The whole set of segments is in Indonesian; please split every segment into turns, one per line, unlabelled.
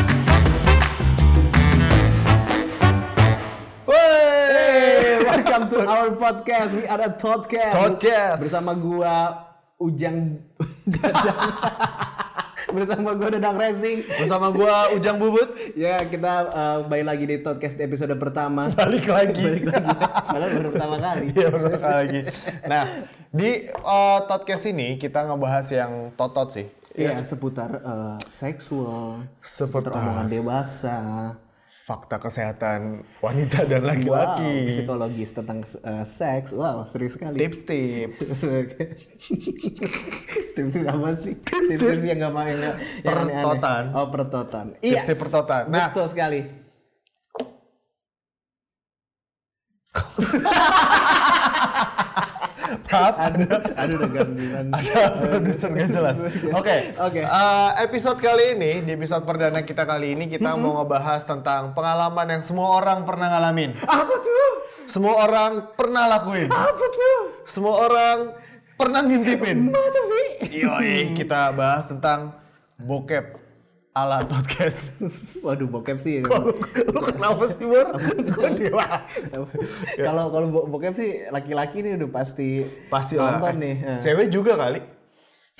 our podcast. We are a podcast.
Podcast.
Bersama gua Ujang Bersama gua Dadang Racing.
Bersama gua Ujang Bubut.
Ya, kita eh, balik lagi di podcast episode pertama.
Balik lagi.
Balik lagi. Malah baru pertama kali.
Iya, balik lagi. Nah, di eh, podcast ini kita ngebahas yang totot sih.
Iya, seputar eh, seksual, seputar
Seputar.
omongan dewasa,
Fakta kesehatan wanita dan
wow,
laki-laki.
psikologis tentang eh, seks. Wow, serius sekali.
Tips-tips.
tips apa sih? Tips-tips yang nggak main ya? yang aneh-aneh.
Pertotan.
Oh pertotan. Iya.
Tips-tips pertotan. Nah,
Betul sekali.
Pat,
Aduh, aduh udah gandungan.
ada produser nggak jelas. Oke,
Oke.
eh, episode kali ini, di episode perdana kita kali ini kita mau ngebahas tentang pengalaman yang semua orang pernah ngalamin,
Apa tuh?
semua orang pernah lakuin,
Apa tuh?
semua orang pernah ngintipin.
Masa sih?
Yoi, kita bahas tentang bokep ala podcast.
Waduh, bokep sih.
Lu, lu kenapa sih, Bor? Gue dewa.
Kalau kalau bo- bokep sih laki-laki nih udah pasti
Pasti lah. Eh,
nonton nih. Eh.
Cewek juga kali.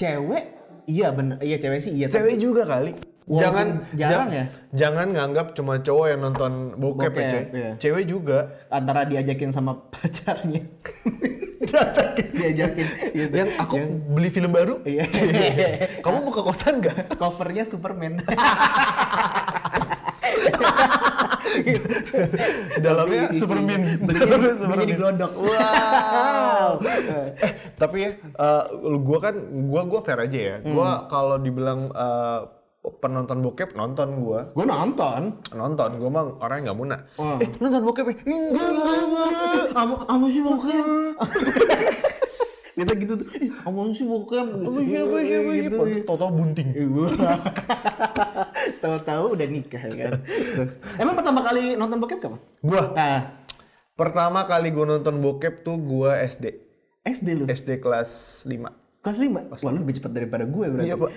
Cewek, iya bener, iya cewek sih iya. tapi
Cewek juga kali.
Walaupun
jangan
jarang
ja-
ya?
Jangan nganggap cuma cowok yang nonton bokep, ya,
Bokep,
Coy.
iya.
Cewek juga.
Antara diajakin sama pacarnya, diajakin. gitu.
yang aku beli film baru.
Iya.
Kamu mau ke kosan gak?
Covernya Superman.
Dalamnya
Beli isi-
Superman.
beli-
Dalamnya
beli
Superman.
di glodok.
Wow. eh, tapi ya, eh, lu gua kan, gua gua fair aja ya.
Hmm.
Gua kalau dibilang eh, penonton bokep nonton gua
Gue nonton.
nonton gua mah orang yang nggak muna
Oh.
eh nonton bokep ya enggak enggak, enggak.
Kamu kamu sih bokep. Kita gitu tuh. Kamu sih bokep.
Oh, iya, iya, iya, iya.
Gitu.
Toto bunting
Ibu. Tahu-tahu udah nikah ya kan. Emang pertama kali nonton bokep kapan?
gua
Nah,
pertama kali gua nonton bokep tuh gua SD
SD lu.
SD kelas 5
Kelas 5? Wah lu lebih cepat daripada gue berarti.
Iya, Pak.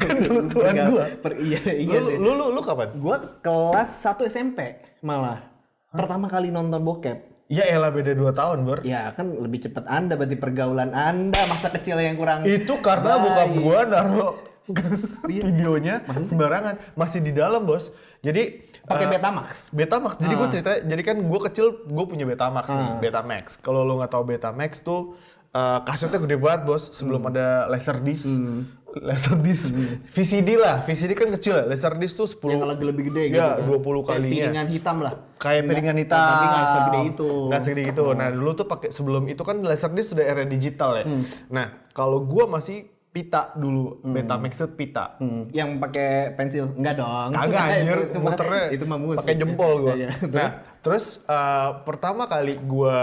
Kan
lu tuan gua.
Iya,
lu,
iya sih.
lu, lu, lu kapan?
Gue kelas 1 SMP malah. Pertama kali nonton bokep.
Ya elah beda 2 tahun, Bor.
Ya kan lebih cepat anda berarti pergaulan anda masa kecil yang kurang.
Itu karena
Iya. baik. Iya.
bokap gua naruh videonya sembarangan, masih di dalam, Bos. Jadi
Pakai
eh,
Betamax.
Betamax. Jadi
Ah.
gua cerita, jadi kan gua kecil gua punya Betamax nih, Betamax. Kalau lu nggak tahu Betamax tuh eh, kasetnya gede banget, Bos. Sebelum
Hmm.
ada Laserdisc. Laserdisc. VCD lah, VCD kan kecil ya. Laserdisc tuh 10
Yang lagi lebih gede gitu.
Ya, 20
Kayak
kalinya.
piringan hitam lah.
kayak piringan
Nggak-
hitam
Tapi nggak segede itu. Hmm.
nggak segede itu nah dulu tuh pakai sebelum itu kan laserdisc sudah era digital ya
Hmm.
nah kalau gua masih pita dulu betamax itu pita
Hmm, yang pakai pensil enggak dong.
kagak anjir
itu, mah-
muternya
itu mah musik.
pakai jempol gua
Iya, iya.
nah terus eh, pertama kali gua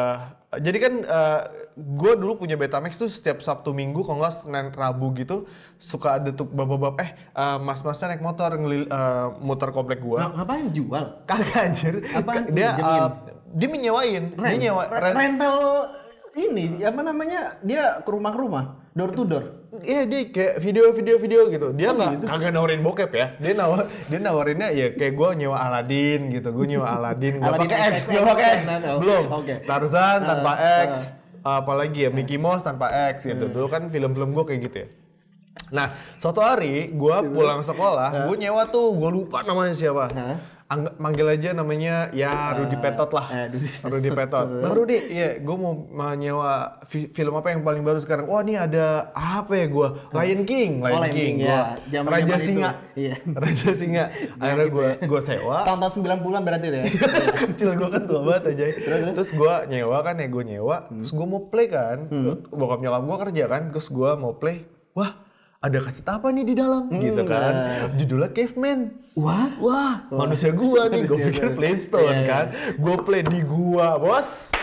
jadi kan eh, gua dulu punya Betamax tuh setiap Sabtu Minggu kalau nggak Senin Rabu gitu suka ada tuh bapak-bapak eh eh, mas-masnya naik motor ngelil, eh, muter komplek gua
Nah, ngapain jual?
Kagak anjir.
Apaan tuh,
dia
pinjemin?
uh, dia menyewain, dia
Rent-
nyewa
re-
rent.
rental ini apa namanya? Dia ke rumah ke rumah, door to door.
Iya dia kayak video-video video gitu. Dia nggak kagak nawarin bokep ya. Dia nawar dia nawarinnya ya kayak gue nyewa Aladin gitu. Gue nyewa Aladin. Gak
Aladdin
pakai X,
XXX,
gak pakai X.
nah, nah.
Belum.
Oke.
Tarzan tanpa
Ah, ah.
X. Apalagi ya Mickey Mouse tanpa X gitu. Dulu kan film-film gue kayak gitu ya. Nah, suatu hari gue pulang sekolah, gue nyewa tuh, gue lupa namanya siapa.
Hah?
Angg- manggil aja namanya ya Rudi Petot lah.
eh, Rudy
Rudi Petot. Bang Rudi, iya gue mau mau nyewa fi- film apa yang paling baru sekarang? Wah ini ada apa ya gue? Lion King, Oh, Lion
Lion
King,
King,
gua.
ya. Zaman-zaman
Raja
itu.
Singa,
Iya.
Raja Singa. Akhirnya gue gue sewa.
Tahun-tahun 90-an berarti itu ya.
kecil gue kan tua banget aja terus gue nyewa kan ya gue nyewa terus gue mau play kan bokap nyokap gue kerja kan terus gue mau play wah ada kaset apa nih di dalam gitu kan judulnya caveman
Wah,
wah manusia gua nih gue
Manusia
pikir
gua.
playstone
Iya, iya.
kan gue play di gua bos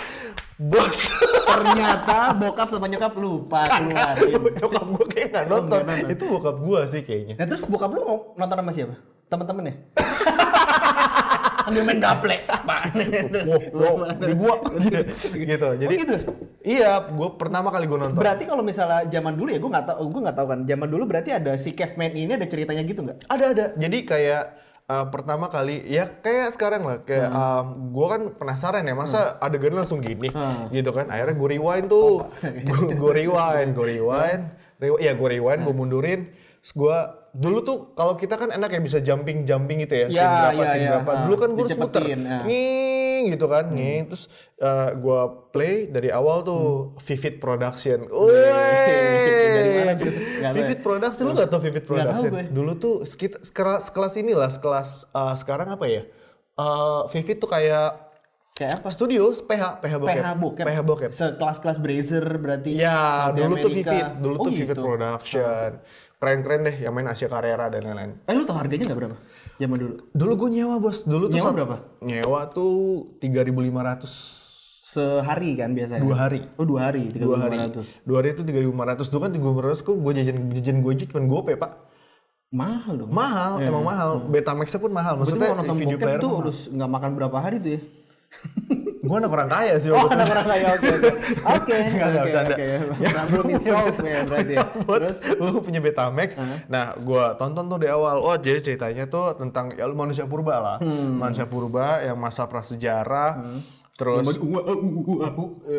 bos
ternyata bokap sama nyokap lupa keluarin.
nyokap gue kayak nggak nonton
nggak nonton.
itu bokap gue sih kayaknya
Nah terus bokap lu mau nonton sama siapa? Temen-temen ya? Ambil main gaplek.
Wah, wah, di gua gitu. Jadi
gitu?
iya, gua pertama kali gua nonton.
Berarti kalau misalnya zaman dulu ya, gue nggak tau, gue nggak tahu kan. Zaman dulu berarti ada si caveman ini ada ceritanya gitu nggak?
Ada ada. Jadi kayak eh, pertama kali ya kayak sekarang lah kayak
Hmm.
em, gua kan penasaran ya masa adegan langsung gini
Hmm.
gitu kan akhirnya gue rewind tuh gue rewind gue rewind rewi- ya gue rewind
Hmm.
gue mundurin terus gue dulu tuh kalau kita kan enak ya bisa jumping jumping gitu ya,
Ya,
scene berapa
ya,
scene
ya.
berapa
Ha,
dulu kan gue harus muter
dicepetin, ya. Hmm.
nging gitu kan nging terus eh, gua play dari awal tuh Vivid Production. Wih.
Hmm. Nah, Dari mana tuh? Nggak tahu ya.
Vivid Production lu gak tau Vivid
Iya. tahu
Production?
gue.
Dulu tuh sekit- sekela- sekelas inilah sekelas eh, sekarang apa ya? Eh, Vivid tuh kayak
Kayak apa?
studio PH PH bokep.
PH bokep.
PH bokep.
Sekelas-kelas Brazer berarti.
Ya,
Sampai
dulu tuh
Amerika.
Vivid, dulu
Oh,
tuh
gitu.
Vivid Production. Keren-keren deh yang main Asia Carrera dan lain-lain.
Eh lu tau harganya nggak berapa? Zaman dulu.
Dulu gue nyewa bos, dulu tuh
Nyewa
sat-
berapa?
Nyewa tuh 3.500
Sehari kan biasanya.
Dua hari.
Oh dua hari. Tiga
dua hari dua hari itu tiga ribu lima ratus kan tiga ribu lima ratus kok gue jajan jajan gue aja cuma gope pak
Mahal dong.
mahal emang mahal Betamaxnya pun mahal
Berarti
maksudnya
iya. mau nonton
video
bokep
player
tuh harus nggak makan berapa hari tuh ya?
gue anak orang kaya sih
Oh,
waktu itu.
anak orang kaya oke. oke. Oke,
Nggak, nggak,
oke,
bercanda. Ya.
oke. Problem is solved ya berarti ya. Terus
gue punya Betamax. Nah, gua tonton tuh di awal. Oh, jadi ceritanya tuh tentang ya, manusia purba lah.
Hmm.
Manusia purba yang masa prasejarah. Terus uh,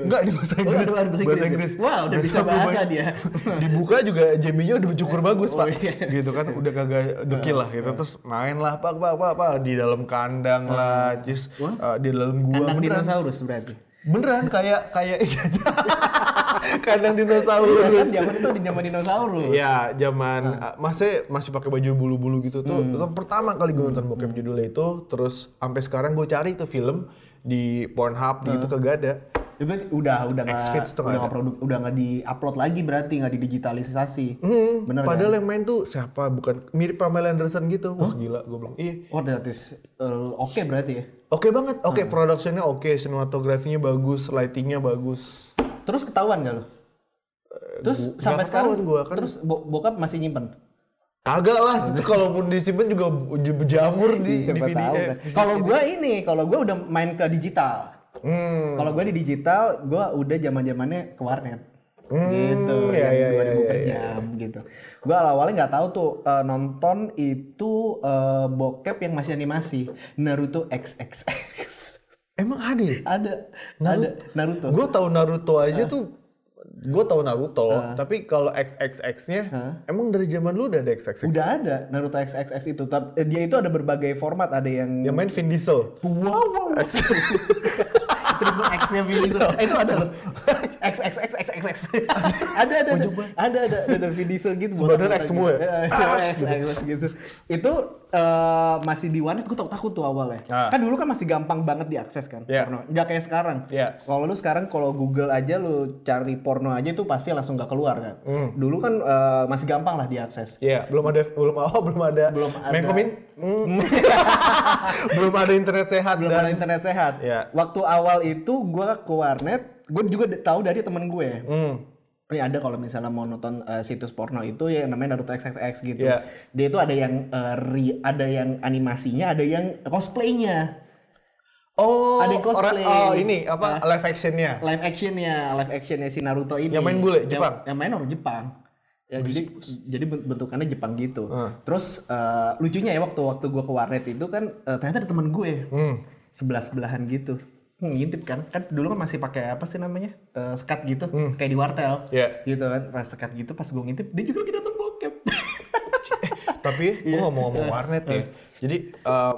Enggak di bahasa
Oh,
Inggris.
ada bahasa Inggris ya? Wah, udah bisa
Berarti
bahasa
aku-
dia.
Dibuka juga Jamie-nya udah cukur bagus,
Oh,
Pak.
iya.
Gitu kan udah kagak dekil lah gitu. Terus main lah, Pak, Pak, Pak, Pak di dalam kandang lah, terus eh, di dalam gua
anak
beneran.
Oh. dinosaurus berarti.
Beneran kayak kayak kandang
Iya
dinosaurus.
kan zaman itu di zaman dinosaurus.
Iya, zaman uh, masih masih pakai baju bulu-bulu gitu tuh. Itu pertama kali gue nonton bokep judulnya itu, terus sampai sekarang gue cari tuh film di Pornhub di itu kagak ada.
Ya, berarti udah udah nggak
X-Feeds tuh nggak
udah nggak produk udah nggak diupload lagi berarti nggak didigitalisasi.
Hmm,
Bener kan?
padahal yang main tuh siapa? Bukan mirip Pamela Anderson gitu. Wah, gila gue bilang. Iya.
Oh, that is uh, oke berarti ya.
Oke banget. Oke, produksinya oke, sinematografinya bagus, lightingnya bagus.
Terus ketahuan gak lo? Terus sampai
nggak
sekarang
ketahuan Eh, gua kan.
Terus bo- bokap masih nyimpen.
Kagak lah, itu kalaupun disimpan juga j- jamur di, di
Siapa
video.
tahu
eh,
kan.
di-
Kalau gua ini, kalau gua udah main ke digital.
Hmm.
Kalau gua di digital, gua udah zaman-zamannya ke warnet.
Hmm,
gitu,
ya, ya,
yang
ya,
2000 per
ya, ya.
jam gitu. Gua awal-awalnya nggak tahu tuh eh, nonton itu eh, bokep yang masih animasi, Naruto XXX.
Emang ada ya?
ada ada
Naruto.
Naruto. Ah.
Gue tahu Naruto aja tuh gue tahu Naruto, tapi kalau XXX-nya emang dari zaman lu udah ada XXX.
Udah ada Naruto XXX itu, tapi eh, dia itu ada berbagai format, ada yang
Yang main Vin Diesel.
wow wow. wow. Triple X nya itu. Eh, itu ada loh. X X X X X X. Ada ada ada. Ada ada ada, ada Vin Diesel gitu.
Sebenarnya
botak-botak
X semua ya?
gitu. Iya, X X X gitu. Itu eh, masih di warnet gue takut tuh awalnya.
Ah.
Kan dulu kan masih gampang banget diakses kan.
Iya.
Porno. Nggak kayak sekarang.
Iya.
Kalau lu sekarang kalau Google aja lu cari porno aja itu pasti langsung gak keluar kan.
Hmm.
Dulu kan eh, masih gampang lah diakses.
Iya, belum ada belum oh, belum ada
Belum ada. Mm.
Menkomin. Hmm. belum ada internet sehat
belum
dan
ada internet sehat.
Iya.
Waktu awal itu gue ke warnet, gue juga d- tahu dari temen gue.
Hmm.
Ini ada kalau misalnya mau nonton eh, situs porno itu ya yang namanya Naruto XXX gitu.
Iya.
Dia itu ada yang eh, ri- ada yang animasinya, ada yang cosplaynya,
Oh,
Ada yang
orang-
cosplay.
oh ini apa live actionnya?
live actionnya, live actionnya si Naruto ini.
Yang main bule, Jepang?
Yang, yang main orang Jepang. Ya, jadi jadi bent- bentukannya Jepang gitu.
Ah.
Terus eh, lucunya ya waktu waktu gue ke warnet itu kan eh, ternyata ada temen gue.
Hmm.
sebelah sebelahan gitu Hmm, ngintip kan kan dulu kan masih pakai apa sih namanya Eh, sekat gitu kayak di
Hmm.
wartel
Iya.
gitu kan pas sekat gitu pas gue ngintip dia juga lagi nonton bokep
Tapi gue
Iya.
ngomong-ngomong warnet ya. Jadi eh,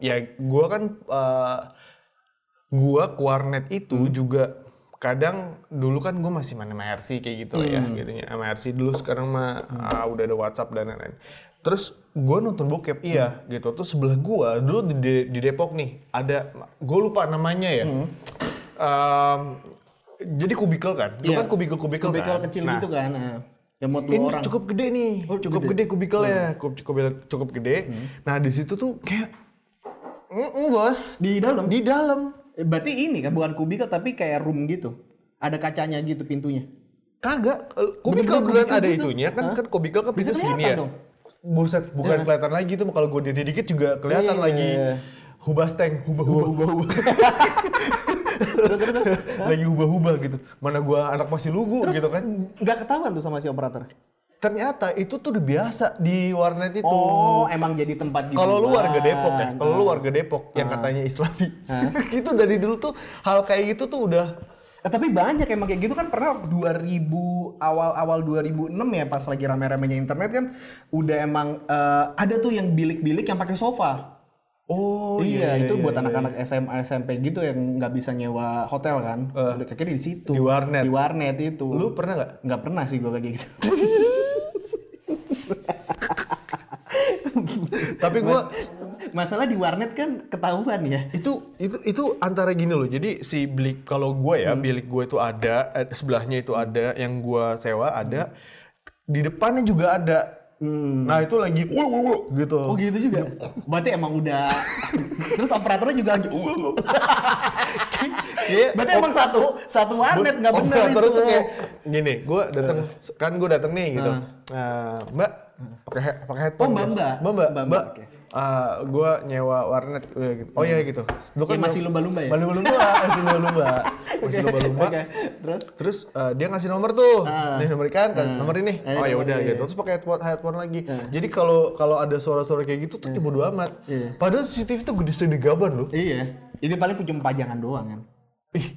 ya gua kan eh, gua ke warnet itu
Hmm.
juga kadang dulu kan gue masih main sama RC kayak gitu lah
Hmm.
ya gitu ya sama RC dulu sekarang mah ah, udah ada WhatsApp dan lain-lain. Terus gue nonton bokep iya gitu. Terus sebelah gua dulu di, De- di Depok nih ada gue lupa namanya ya.
Hmm.
Em, jadi kubikel kan, dulu
Iya.
kan kubikel-kubikel
Kubikel
kan.
kecil
Nah,
gitu kan eh. yang mau
ini
dua orang Oh, Hmm.
cukup gede nih, cukup gede, kubikelnya, cukup cukup cukup gede. Nah di situ tuh kayak, mm bos,
di dalam
di dalam
Eh, berarti ini kan bukan kubikel tapi kayak room gitu ada kacanya gitu pintunya
kagak eh,
Bener-bener
kubikel beneran
kubikel
ada
gitu.
itunya kan kan kubikel kan pintu
Bisa
segini
kelihatan
ya.
dong.
Buset, bukan kelihatan lagi tuh kalau gue diri dikit juga kelihatan
Iya.
lagi hubas tank, hubah-hubah. lagi hubah-hubah gitu. Mana gua anak masih lugu gitu kan.
nggak ketahuan tuh sama si operator
ternyata itu tuh udah biasa di warnet itu.
Oh, emang jadi tempat gitu.
Kalau lu warga Depok ya, kalau lu warga Depok yang
Ah.
katanya Islami, itu dari dulu tuh hal kayak gitu tuh udah
Nah, tapi banyak emang kayak gitu kan pernah 2000 awal-awal 2006 ya pas lagi rame-ramenya internet kan udah emang eh, ada tuh yang bilik-bilik yang pakai sofa.
oh
iya, itu buat anak-anak SMA SMP gitu yang nggak bisa nyewa hotel kan. udah kayaknya di situ.
Di warnet.
Di warnet itu.
Lu pernah nggak?
nggak pernah sih gua kayak gitu.
Tapi gua
Masalah di warnet kan ketahuan ya.
itu itu itu antara gini loh. Jadi si bilik kalau gue
Hmm.
ya bilik gue itu ada eh, sebelahnya itu ada yang gua sewa
Hmm.
ada di depannya juga ada. Nah itu lagi wuh, wuh, wuh, gitu.
Oh gitu juga. Berarti emang udah. Terus operatornya juga lagi. "Uh."
Iya,
Berarti emang satu satu warnet nggak bener
operator Oh,
itu. Ya,
tuh kayak gini gue datang kan gue datang nih gitu Nah, mbak pakai he- pakai headphone
Oh, mbak,
guys.
mbak.
mbak mbak
Mbak,
mbak
mbak, oke.
gue nyewa warnet udah gitu oh iya gitu lu
Ya, masih lumba-lumba ya?
masih lumba lumba masih lumba lumba masih lumba lumba
Oke, Terus
terus eh, dia ngasih nomor tuh
Ah.
nih nomor ikan kan nomor ini
Eh,
oh ya
nomor
udah
ini. Ah.
gitu terus pakai headphone headphone lagi jadi kalau kalau ada suara-suara kayak gitu tuh bodo amat
Iya.
padahal CCTV tuh gede segede gaban loh
iya. Ini paling cuma pajangan doang kan.
ih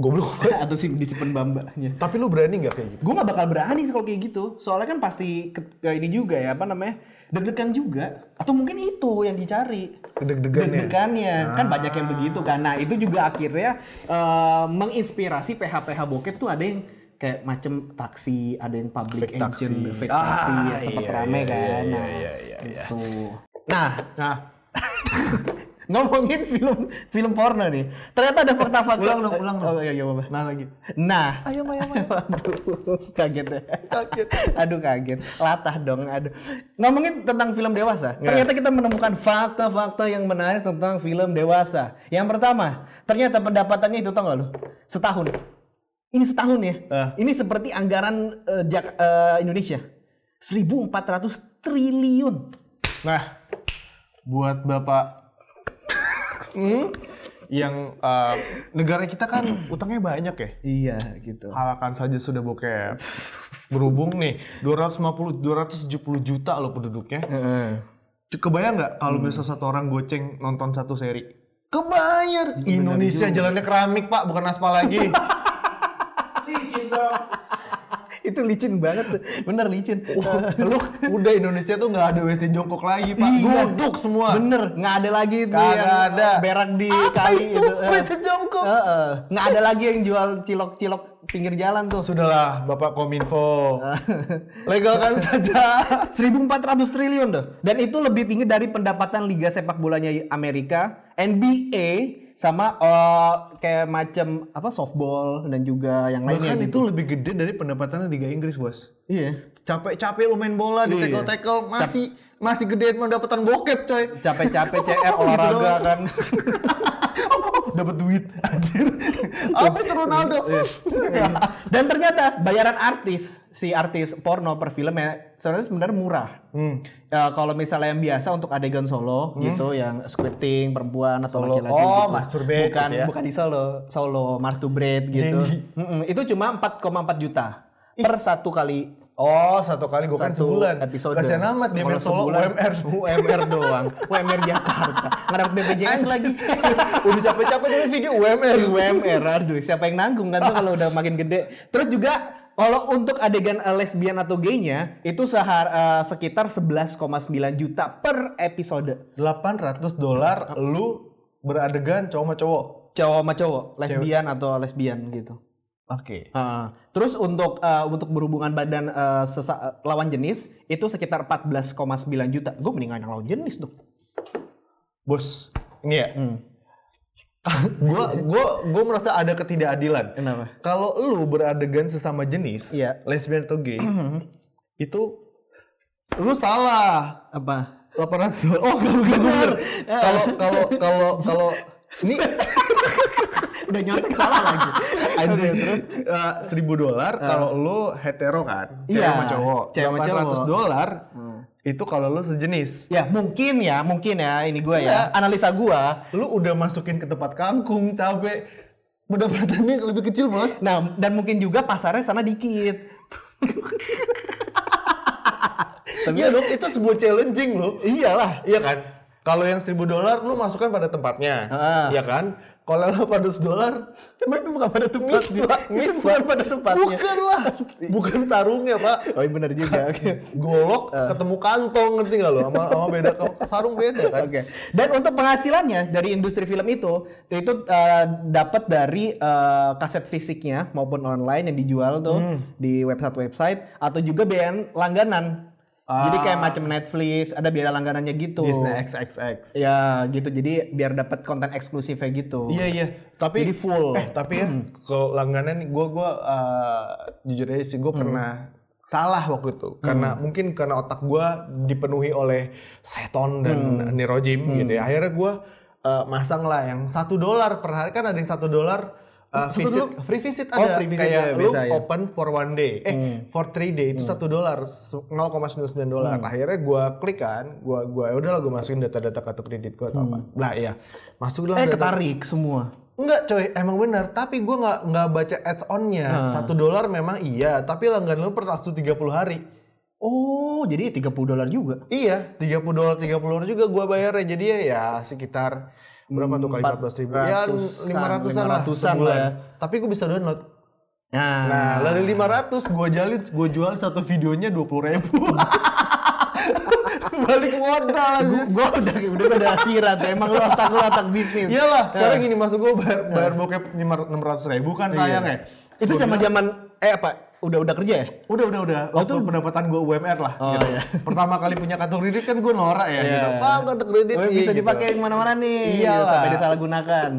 goblok
Atau sih disimpan bambanya.
tapi lu berani nggak kayak gitu
Gue gak bakal berani sih kalau kayak gitu. Soalnya kan pasti ke, ke ini juga ya, apa namanya? Deg-degan juga. Atau mungkin itu yang dicari.
deg-degannya Ah.
Deg-degannya. Kan banyak yang begitu kan. Nah itu juga akhirnya eh, menginspirasi PH-PH bokep tuh ada yang kayak macem taksi, ada yang public
Fake
engine,
taksi.
fake
Ah,
taksi, ya, sempet
iya,
rame
iya,
kan.
iya, iya,
nah,
iya, iya, iya.
gitu.
Nah, nah,
ngomongin film film porno nih. Ternyata ada fakta-fakta.
Ulang dong, ulang dong.
Oh iya, iya, apa-apa.
nah lagi.
Nah,
Ayo, ayo, ayo.
aduh, kaget ya.
Kaget.
Aduh kaget, latah dong. Aduh. Ngomongin tentang film dewasa,
Ya.
ternyata kita menemukan fakta-fakta yang menarik tentang film dewasa. Yang pertama, ternyata pendapatannya itu tahun lalu setahun. Ini setahun ya.
Ah.
Ini seperti anggaran eh, Jak- eh, Indonesia. 1400 triliun.
Nah, buat bapak Hmm? yang eh, negara kita kan utangnya banyak ya.
Iya, gitu.
Halakan saja sudah bokep. Berhubung nih 250 270 juta loh penduduknya. Kebayang nggak kalau misalnya
Hmm.
satu orang goceng nonton satu seri? Kebayar. Indonesia jalannya keramik, Pak, bukan aspal lagi.
itu licin banget tuh. bener licin
Wah, lu udah Indonesia tuh nggak ada WC jongkok lagi, Pak.
Iya.
Duduk semua.
bener nggak ada lagi itu
Kagak ada.
berak di
Apa
kali
itu?
eh.
Wes kejongkok.
Heeh. nggak ada lagi yang jual cilok-cilok pinggir jalan tuh
Sudahlah, Bapak Kominfo. kan? Legalkan saja.
1400 triliun tuh dan itu lebih tinggi dari pendapatan liga sepak bolanya Amerika NBA sama eh, kayak macam apa softball dan juga yang lainnya
Bahkan Kan
gitu.
itu lebih gede dari pendapatannya Liga Inggris, Bos.
iya
Capek-capek lu main bola di
Iya.
tackle-tackle masih masih gedean pendapatan bokep, coy.
capek-capek CF
Gitu
olahraga
doang.
kan
Dapat duit, anjir. Apa itu Ronaldo?
Iya.
Iya.
dan ternyata bayaran artis si artis porno per filmnya sebenarnya sebenarnya murah
Hmm.
Ya, kalau misalnya yang biasa untuk adegan solo gitu, yang scripting perempuan atau
Solo. Oh,
laki-laki gitu.
masturbate
bukan
gitu ya.
bukan di solo, solo masturbate gitu.
Jadi.
Mm-mm, itu cuma 4,4 juta per satu kali
Oh, satu kali gue kan
satu
sebulan.
episode.
Kasihan amat dia
Kalau
main solo
sebulan,
UMR.
UMR doang, UMR Jakarta. Nggak dapat BPJS lagi.
Udah capek-capek dia main video UMR.
UMR, aduh siapa yang nanggung kan tuh kalau udah makin gede. Terus juga kalau untuk adegan eh, lesbian atau gaynya itu sehar, eh, sekitar 11,9 juta per episode.
800 dolar lu beradegan cowok sama cowok.
cowok sama cowok, lesbian atau lesbian gitu.
Oke.
Ah, terus untuk eh, untuk berhubungan badan eh, sesa- eh, lawan jenis itu sekitar 14,9 juta. Gue mendingan yang lawan jenis dong.
Bos, ini ya. gua gua gua merasa ada ketidakadilan.
Kenapa?
Kalau lu beradegan sesama jenis,
Iya. Mm-hmm.
lesbian atau gay, itu lu salah.
Apa?
800 dolar. Oh, enggak enggak bener. Kalau kalau kalau kalau ini
Udah nyontek salah lagi.
anjir terus Eh, seribu dolar kalau lu hetero kan, cewek
Eh. Iya,
sama cowok.
cewek sama cowok. Hmm.
800 dolar itu kalau lu sejenis.
Ya mungkin ya, mungkin ya ini gue ya. Analisa gue.
lu udah masukin ke tempat kangkung cabe pendapatannya lebih kecil bos
Nah dan mungkin juga pasarnya sana dikit.
Iya dong, itu sebuah challenging loh.
Iyalah.
Iya kan? Kalau yang 1000 dolar lu masukkan pada tempatnya.
Ah.
Iya kan? Kalau yang 800 dolar
Emang itu bukan pada tempat
Miss, Pak. Miss,
bukan
Pak.
pada tempatnya.
Bukan lah. Bukan sarungnya, Pak.
Oh iya benar juga. Oke. Ah.
Golok ketemu kantong ngerti nggak lo? Sama sama beda kalau sarung beda kan.
Oke. Dan untuk penghasilannya dari industri film itu itu eh, dapat dari eh, kaset fisiknya maupun online yang dijual tuh di website-website atau juga biaya langganan. Jadi kayak macam Netflix, ada biaya langganannya gitu.
Disney XXX.
Ya gitu. Jadi biar dapat konten eksklusifnya gitu.
Iya iya, tapi
Jadi full.
Eh tapi ya kalau langganan gue gue eh, jujur aja sih gue pernah salah waktu itu karena mungkin karena otak gue dipenuhi oleh seton dan nirojim gitu ya. Akhirnya gue masang lah yang satu dolar per hari kan ada yang satu dolar eh,
Satu
visit,
dolar?
free visit
Oh,
ada
free visit
kayak
ya,
lu
bisa ya. Mm.
open for one day eh for three day itu satu dolar se- 0,99 dolar
Mm.
akhirnya gue klik kan gue gue udahlah gue masukin data-data kartu kredit gue atau apa lah iya masuklah
Mm. Eh
data-
ketarik semua.
Enggak coy, emang benar. Tapi gua nggak nggak baca ads on-nya. Satu dolar memang iya, tapi langganan lu per langsung 30 hari.
Oh, jadi 30 dolar juga.
Iya, 30 dolar 30 dolar juga gua bayarnya. Jadi ya, ya sekitar berapa tuh kali 14 ribu? Ya
400-an,
500-an lah.
500-an
sebulan.
lah ya.
Tapi gua bisa download.
Nah,
Nah, dari 500 gua jalin, gua jual satu videonya 20 ribu. Balik modal.
gua, gua udah udah pada akhirat. ya. Emang lu otak lu otak bisnis.
Iyalah, sekarang
Nah.
gini maksud gua bayar, bayar bokep 600 ribu
Iya.
kan sayang ya.
Itu zaman-zaman eh apa? Udah udah kerja ya?
Udah, udah, udah. Waktu pendapatan gue UMR lah.
Oh,
gitu.
iya.
Pertama kali punya kartu kredit kan gue norak ya.
Iya.
Gitu. Wah, kartu kredit.
Oh,
iya,
bisa
gitu. Iya. Ah.
dipakai yang mana-mana nih. Iya,
Iyalah.
Sampai disalahgunakan.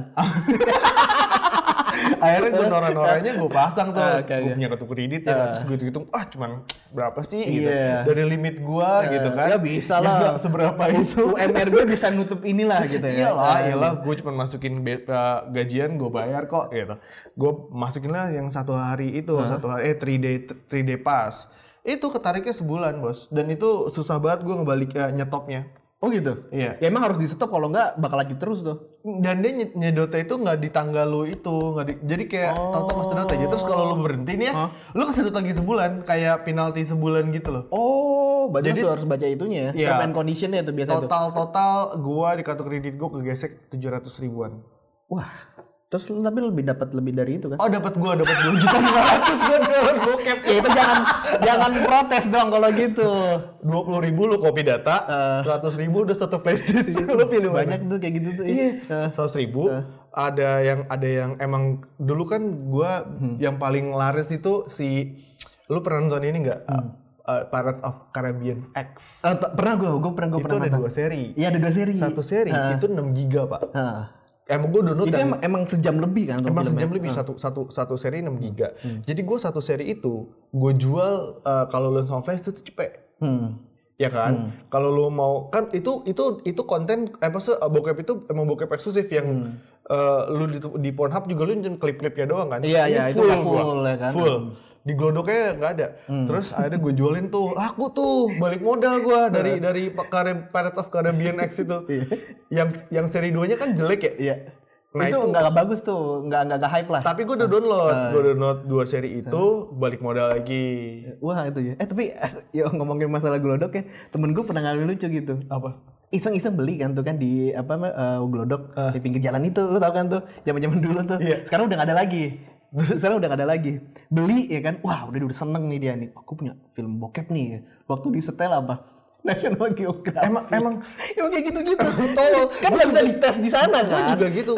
Akhirnya gue norak-noraknya gue pasang tuh.
Ah, oke,
gue
oke.
punya kartu kredit ya. Terus gue hitung ah cuman berapa sih gitu.
Iya.
Dari limit gue gitu kan.
ya bisa
Ya,
lah.
nggak seberapa itu. Iya
UMR gue bisa nutup inilah gitu ya.
Iyalah, iyalah. Gue cuma masukin be- eh, gajian, gue bayar kok gitu. Gue masukin lah yang satu hari itu, satu hari eh 3 day 3 day pass. Itu ketariknya sebulan bos, dan itu susah banget gue ngebalik eh, nyetopnya.
Oh gitu.
Iya.
Ya emang harus di stop kalau enggak bakal lanjut terus tuh.
dan dia nyed- nyedotnya itu nggak di tanggal lu itu nggak di- jadi kayak tau-tau kesedot aja terus kalau lu berhenti nih ya lu kesedot lagi sebulan kayak penalti sebulan gitu loh
Oh, berarti
Jadi-
lu harus baca itunya ya.
Iya.
Term and conditionnya itu biasa tuh.
total total gua di kartu kredit gua kegesek 700 ribuan
Wah. Terus lu tapi lebih dapat lebih dari itu kan?
oh iya. dapat gua dapat dua juta lima ratus gua download bokep
Ya itu jangan jangan protes dong kalau gitu.
dua ribu lu kopi data seratus ribu udah satu playstation lu pilih mana?
Banyak tuh kayak gitu tuh.
Iya, seratus ribu. Ada yang ada yang emang dulu kan gua
Hmm.
yang paling laris itu si lu pernah nonton ini nggak?
Hmm.
Uh, Pirates of Caribbean X.
Eh, t- pernah gue, gue pernah gue
itu
pernah
ada
nonton.
dua seri.
Iya ada dua seri.
Satu seri itu 6 giga pak.
Heeh.
Emang gua download
itu
dan-
emang, emang sejam lebih kan? tuh
emang
filmnya?
sejam lebih satu satu satu seri 6 giga.
Hmm.
Jadi gua satu seri itu gua jual uh, kalau lu sama flash itu tuh cepet.
Hmm.
ya kan kalau lu mau kan itu itu itu konten apa sih eh, bokep itu emang bokep eksklusif
Hmm.
yang eh, lu di, di Pornhub juga lu nyen klip-klipnya doang kan
Iya,
Ini
iya, itu
gua.
nggak full, ya kan? Hmm.
full di glodoknya nggak ada terus akhirnya gue jualin tuh laku tuh balik modal gua dari
Hmm.
dari Carib- Pirates of Caribbean X itu yang yang seri 2 nya kan jelek ya
Iya.
Nah,
itu
itu-
nggak bagus tuh, nggak nggak nggak hype lah.
tapi gue udah download
Ah,
Gua
iya.
download dua seri
Hmm.
itu balik modal lagi
Wah itu ya. Eh tapi eh, ya ngomongin masalah glodok ya, temen gue pernah ngalamin lucu gitu.
apa
Iseng-iseng beli kan tuh kan di apa eh, glodok di pinggir jalan itu, lo tau kan tuh zaman-zaman dulu
Ah.
tuh.
Iya.
Sekarang udah nggak ada lagi. Sekarang udah nggak ada lagi. Beli ya kan, wah udah udah seneng nih dia nih. Aku punya film bokep nih. ya. Waktu di setel apa? National Geographic.
Emang- emang-
emang kayak gitu-gitu.
tolol.
kan nggak bisa dites di sana kan?
gue juga gitu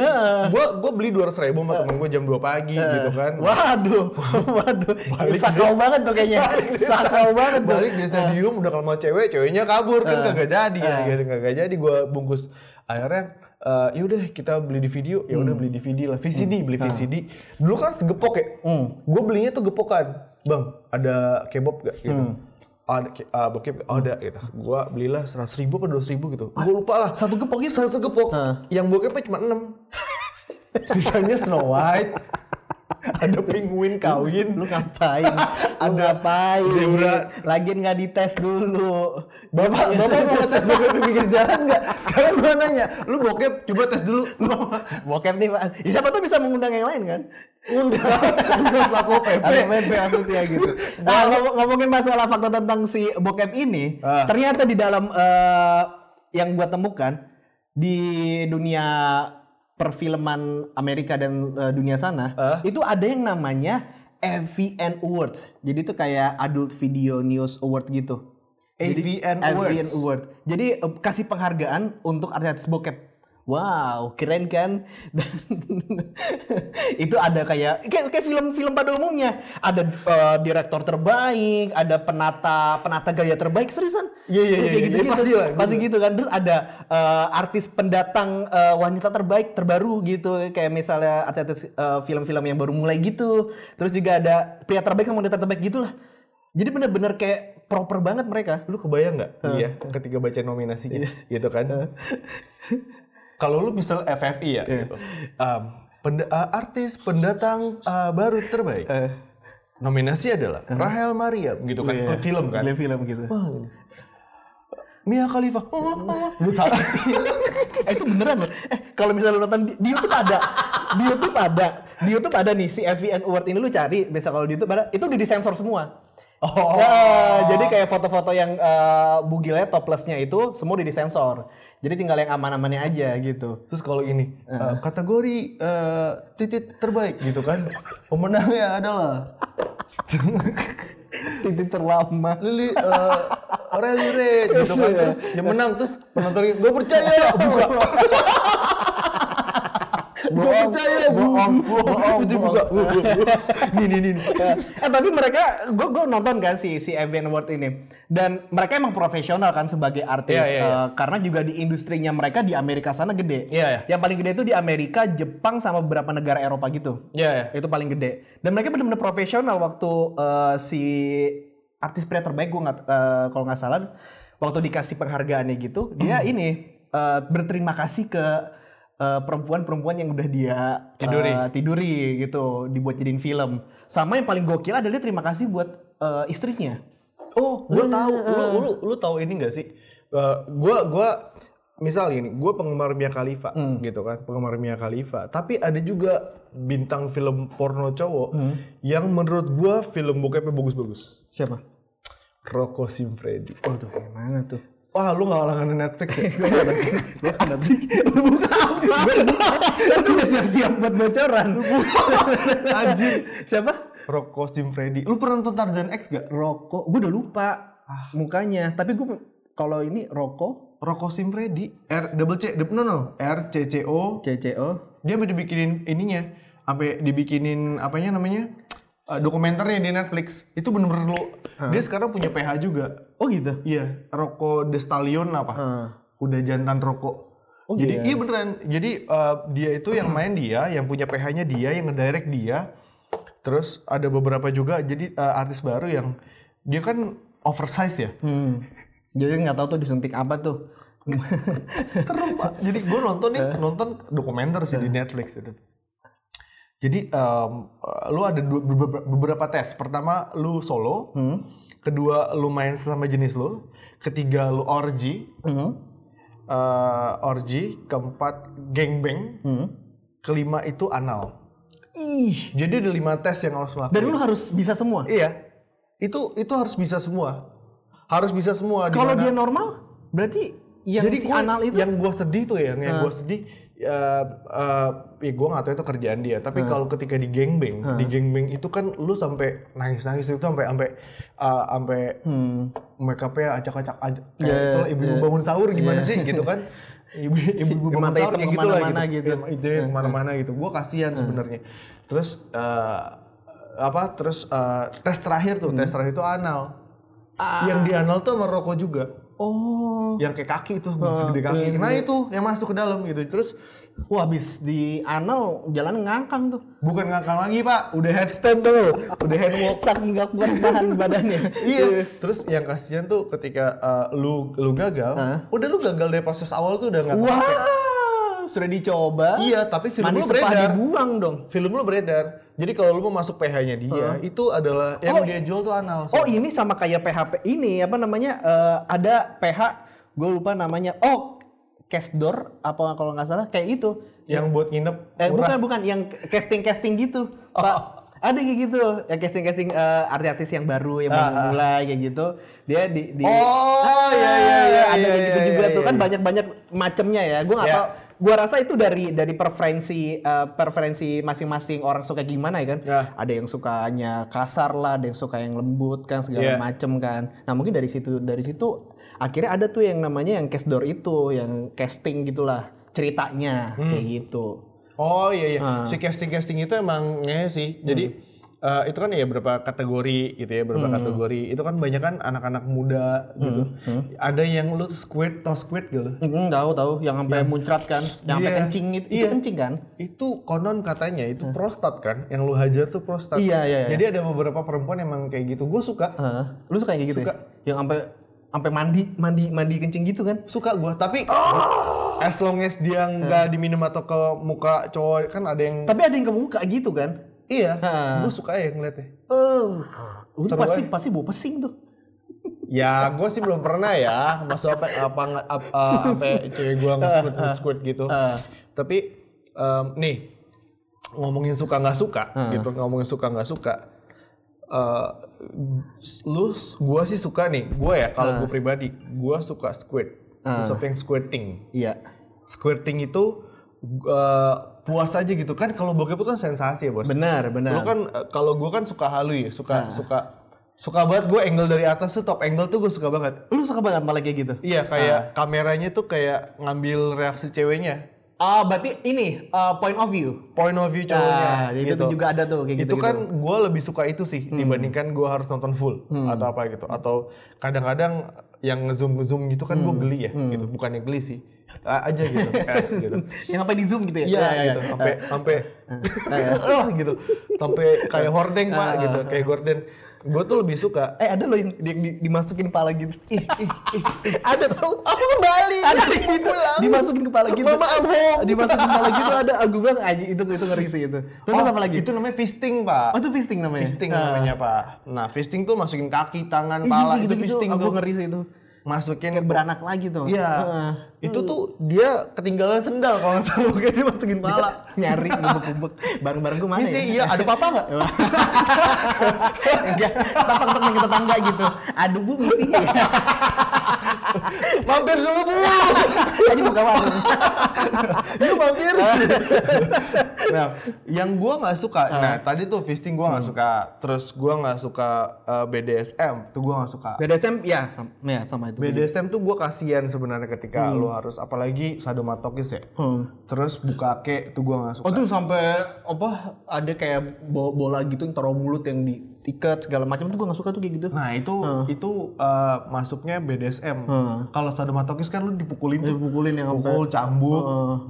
gue gue beli dua ratus ribu sama temen gue jam 2 pagi gitu kan
Waduh, waduh,
Balik
sakau banget tuh kayaknya, sakau banget Eh, tuh.
balik di stadium udah kalau mau cewek ceweknya kabur kan kagak jadi ya kagak kagak jadi gue bungkus akhirnya eh, yaudah kita beli di video ya
Hmm.
udah beli di video lah VCD
Ah.
beli VCD dulu kan segepok ya
Hmm.
gue belinya tuh gepokan bang ada kebab gak gitu
Hmm.
ada ke- ah, bokep nggak? ada gitu gue belilah seratus ribu ke dua ribu gitu gue lupa lah
Ah. Satu gepok gitu.
satu gepok
Ah.
yang bokepnya cuma enam sisanya Snow White ada penguin kawin
Lu ngapain? Lu
Ada
ngapain?
zebra.
Lagian nggak dites dulu.
Bapak, bapak mau tes bokep di pinggir jalan nggak? Sekarang gua nanya, lu bokep coba tes dulu. Lu
Bokep nih pak. Ya, siapa tuh bisa mengundang yang lain kan?
undang, undang Satpol PP.
Atau PP maksudnya
ya,
gitu. Nah, ngom- ngomongin masalah fakta tentang si bokep ini,
Ah.
ternyata di dalam eh, yang gua temukan di dunia perfilman Amerika dan eh, dunia sana,
Ah.
itu ada yang namanya AVN Awards. Jadi itu kayak Adult Video News Award gitu. Jadi,
AVN
AVN
Awards.
Award. Jadi eh, kasih penghargaan untuk artis bokep. Wow, keren kan? Dan itu ada kayak kayak kayak film-film pada umumnya. Ada eh, direktor terbaik, ada penata penata gaya terbaik seriusan.
Iya, iya,
Kayak
iya, iya,
gitu-gitu.
pasti lah.
Pasti gitu kan. Terus ada eh, artis pendatang eh, wanita terbaik terbaru gitu. Kayak misalnya artis eh, film-film yang baru mulai gitu. Terus juga ada pria terbaik sama wanita terbaik gitulah. Jadi bener-bener kayak proper banget mereka.
Lu kebayang nggak? Iya, ketika baca nominasinya, gitu kan? Kalau lu misal FFI ya, gitu. Em, penda- eh, artis pendatang eh, baru terbaik.
Eh.
Nominasi adalah Rahel Maria, gitu kan?
Iya.
Film kan?
Film film gitu.
Wah, gini. Mia Khalifa. Oh, oh. Lu salah.
eh itu beneran loh. Eh kalau misalnya lu nonton di, di YouTube ada. Di YouTube ada. Di YouTube ada nih si FVN Award ini lu cari bisa kalau di YouTube ada. Itu udah disensor semua.
Oh.
Ya, jadi kayak foto-foto yang eh, bugilnya toplesnya itu semua udah disensor. Jadi tinggal yang aman-amannya aja gitu.
Terus kalau ini eh, kategori eh, titit terbaik gitu kan. Pemenangnya adalah
Titik terlama.
Lili eh, Rally Red gitu
Iya.
kan. Terus yang menang terus penontonnya gue percaya. Buka. Gue
Bohong,
percaya.
bohong, bohong,
Terus dibuka. Nih nih nih.
eh tapi mereka gue gue nonton kan si si Evan Award ini dan mereka emang profesional kan sebagai artis
Iya, iya, iya.
eh, karena juga di industrinya mereka di Amerika sana gede.
Iya, iya.
Yang paling gede itu di Amerika, Jepang sama beberapa negara Eropa gitu.
Ya ya.
Itu paling gede. Dan mereka benar-benar profesional waktu eh, si artis pria terbaik gue nggak eh, kalau nggak salah waktu dikasih penghargaannya gitu dia ini eh, berterima kasih ke eh, perempuan-perempuan yang udah dia eh,
Tiduri.
tiduri gitu dibuat jadiin film. Sama yang paling gokil adalah dia terima kasih buat eh, istrinya.
Oh, gue
Iya.
tahu. Lu lu lu tahu ini gak sih? Eh, gua gua misal gini, gue penggemar Mia Khalifa
Hmm.
gitu kan, penggemar Mia Khalifa. Tapi ada juga bintang film porno cowok
Hmm.
yang menurut gua film bokepnya bagus-bagus.
Siapa?
Rocco Siffredi.
Oh tuh yang mana tuh?
Wah, lu gak langganan Netflix ya?
Gue kan nanti buka apa? Gue udah siap-siap buat bocoran.
Anjir.
Siapa?
Rocco Siffredi. Lu pernah nonton Tarzan X gak?
Roko, gue udah lupa Ah. mukanya. Tapi gue kalau ini Roko,
Rocco Siffredi. R double C, no no, R C C O
CCO,
dia sampai dibikinin ininya sampai dibikinin apanya namanya eh, dokumenternya di Netflix itu bener-bener lu dia sekarang punya PH juga
oh gitu.
iya Rocco De Stallion apa
Ah.
kuda jantan Rocco
Oh,
jadi
iya.
iya beneran jadi eh, dia itu yang main dia yang punya PH-nya dia yang ngedirect dia terus ada beberapa juga jadi eh, artis baru yang dia kan oversize ya
Hmm. Jadi nggak tahu tuh disuntik apa tuh.
Serem, Pak. Jadi gue nonton nih,
Eh.
nonton dokumenter sih di Netflix itu. Jadi em, eh, lu ada dua- beberapa- beberapa tes. Pertama lu solo,
Hmm.
kedua lu main sesama jenis lu, ketiga lu orgy,
Hmm.
eh, orgy, keempat gangbang,
Hmm.
kelima itu anal.
Ih.
Jadi ada lima tes yang harus lakukan.
Dan lu harus bisa semua.
Iya. Itu itu harus bisa semua. Harus bisa semua. di
Kalau
mana-
dia normal, berarti yang
Jadi
si
gua-
anal itu.
yang gue sedih tuh ya, yang gue sedih eh eh, ya gue nggak tahu itu kerjaan dia. Tapi kalau ketika di gengbang, di gengbang itu kan lu sampai nangis-nangis itu sampai sampai eh, sampai
Hmm.
make upnya acak-acak aja. Kayak
Iya,
itulah ibu-ibu bangun sahur gimana sih gitu kan? Ibu- Ibu-ibu
Yang
bangun
mata
sahur
hitam
kayak gitu lah
kemana-mana
gitu.
gitu.
Yang Itu yang kemana-mana gitu. Gue kasihan sebenarnya. Terus eh, apa? Terus eh, tes terakhir tuh,
Hmm.
tes terakhir itu anal.
Ah.
Yang di anal tuh sama rokok juga
Oh.
yang kayak kaki itu segede kaki.
iya,
Nah itu yang masuk ke dalam gitu. Terus
Wah, habis di anal jalan ngangkang tuh.
bukan ngangkang lagi pak, udah headstand tuh,
Iya.
udah hand walk.
Saking nggak kuat bahan badannya.
Iya. Terus yang kasihan tuh eh, ketika uh, lu lu gagal, udah lu gagal dari proses awal tuh udah nggak.
Wah, sudah dicoba.
Iya, tapi film lu
manis sepah
beredar.
dibuang dong.
Film lu beredar. Jadi kalau lu mau masuk pH-nya dia, itu adalah yang
Oh,
dia jual tuh anal.
Oh ini sama kayak PHP ini apa namanya eh, ada PH gue lupa namanya oh cash door apa kalau nggak salah kayak itu
yang buat nginep murah.
eh
Oh.
bukan bukan yang casting casting gitu pak ada kayak gitu ya casting casting artis-artis yang baru yang baru
Ah, ah.
mulai kayak gitu dia di, di-
Oh, iya, iya, iya,
ada
iya,
kayak gitu
iya,
juga
iya,
tuh kan
iya.
banyak banyak macemnya ya gue nggak
Iya.
tahu gue rasa itu dari dari preferensi eh, preferensi masing-masing orang suka gimana ya kan
Iya.
ada yang sukanya kasar lah ada yang suka yang lembut kan
Iya.
segala macem kan nah mungkin dari situ dari situ akhirnya ada tuh yang namanya yang cast door itu yang casting gitulah ceritanya
Hmm.
kayak gitu
Oh iya iya.
Ah. Hmm.
Si casting-casting itu emang ngehe sih. Jadi eh, itu kan ya berapa kategori gitu ya,
Hmm.
berapa kategori. Itu kan banyak kan anak-anak muda gitu.
Hmm.
Ada yang lu squid, tau squid gitu. gak lu?
Mm, tahu tahu yang sampai muncrat kan, yang sampai
Iya.
kencing itu, itu
Iya.
kencing kan?
Itu konon katanya itu prostat kan, yang lu hajar tuh prostat.
Hmm. Iya, iya, iya.
Jadi ada beberapa perempuan emang kayak gitu. Gue suka,
Heeh. lu suka yang kayak gitu
Suka.
ya? Yang sampai sampai mandi mandi mandi kencing gitu kan?
suka gue. Tapi
Ah!
as long as dia nggak
Hmm.
diminum atau ke muka cowok kan ada yang
Tapi ada yang ke muka gitu kan?
iya.
Ah.
Gue suka ya ngeliatnya.
Oh, lu
Seru
pasti pasti bau pesing tuh.
Ya, gue sih belum pernah ya masuk apa apa nge- ap- eh, sampai cewek gue nge-squid nge-squid gitu.
Ah.
Tapi em, nih ngomongin suka nggak suka gitu, ngomongin suka nggak suka. Eh lu gue sih suka nih, gue ya kalau gue pribadi, gue suka squid. Sesuatu yang squirting.
Iya.
Squirting itu eh, puas aja gitu kan kalau bokep itu kan sensasi ya, Bos.
Benar
Lu
benar.
kan eh, kalau gue kan suka halu ya,
Nah.
suka suka suka banget gue angle dari atas tuh top angle tuh gue suka banget.
Lu suka banget malah kayak gitu?
Iya kayak kameranya tuh kayak ngambil reaksi ceweknya,
Ah, berarti ini ah, point of view.
point of view
Ah,
cowoknya.
itu
gitu.
tuh juga ada tuh kayak Hmm. gitu.
itu kan gue lebih suka itu sih dibandingkan gue harus nonton full
Hmm.
atau apa gitu atau kadang-kadang yang ngezoom ngezoom gitu kan
Hmm.
gue geli ya gitu bukannya geli sih A- aja gitu, eh, gitu.
yang sampai di zoom gitu ya?
Iya gitu, sampai sampai
Eh.
ah, gitu, sampai kayak hordeng pak gitu, kayak gorden. Gue tuh lebih suka.
Eh ada loh yang, yang di- dimasukin kepala gitu.
Ih, ih, ih,
ada tau?
aku kembali.
ada yang gitu dimasukin kepala gitu
Mama, I'm home.
dimasukin kepala gitu ada aku bilang aji itu itu ngeri sih itu terus
Oh,
apa lagi
Itu namanya fisting pak.
oh itu fisting namanya
Fisting
Ah.
namanya pak. Nah fisting tuh masukin kaki, tangan,
Ih,
pala itu
gitu, gitu,
fisting
aku
tuh.
ngeri sih itu
Masukin
kayak beranak lagi tuh
Iya.
Heeh. Hmm.
Itu tuh dia ketinggalan sendal kalau nggak salah kayak dia masukin pala.
nyari ngubek-ngubek barang-barangku mana
Ini
ya
sih iya ada papa nggak?
enggak tapak temen ke tetangga gitu aduh bu misi
mampir dulu bu.
aja buka warung
Yuk mampir. nah, yang gua nggak suka.
Ah.
Nah, tadi tuh fisting gua
Hmm.
nggak suka. Terus gua nggak suka eh, BDSM. Tuh gua nggak suka.
BDSM ya sama, ya, sama itu
BDSM tuh gua kasihan sebenarnya ketika lu harus apalagi sadomatokis ya.
Hmm.
Terus buka kek tuh gua nggak suka.
Oh tuh sampai apa ada kayak bo- bola gitu yang taruh mulut yang diikat segala macam tuh gue nggak suka tuh kayak gitu.
Nah itu itu eh, masuknya BDSM. Kalau sadomatokis kan lu dipukulin tuh,
Dipukulin yang sampai.
pukul cambuk,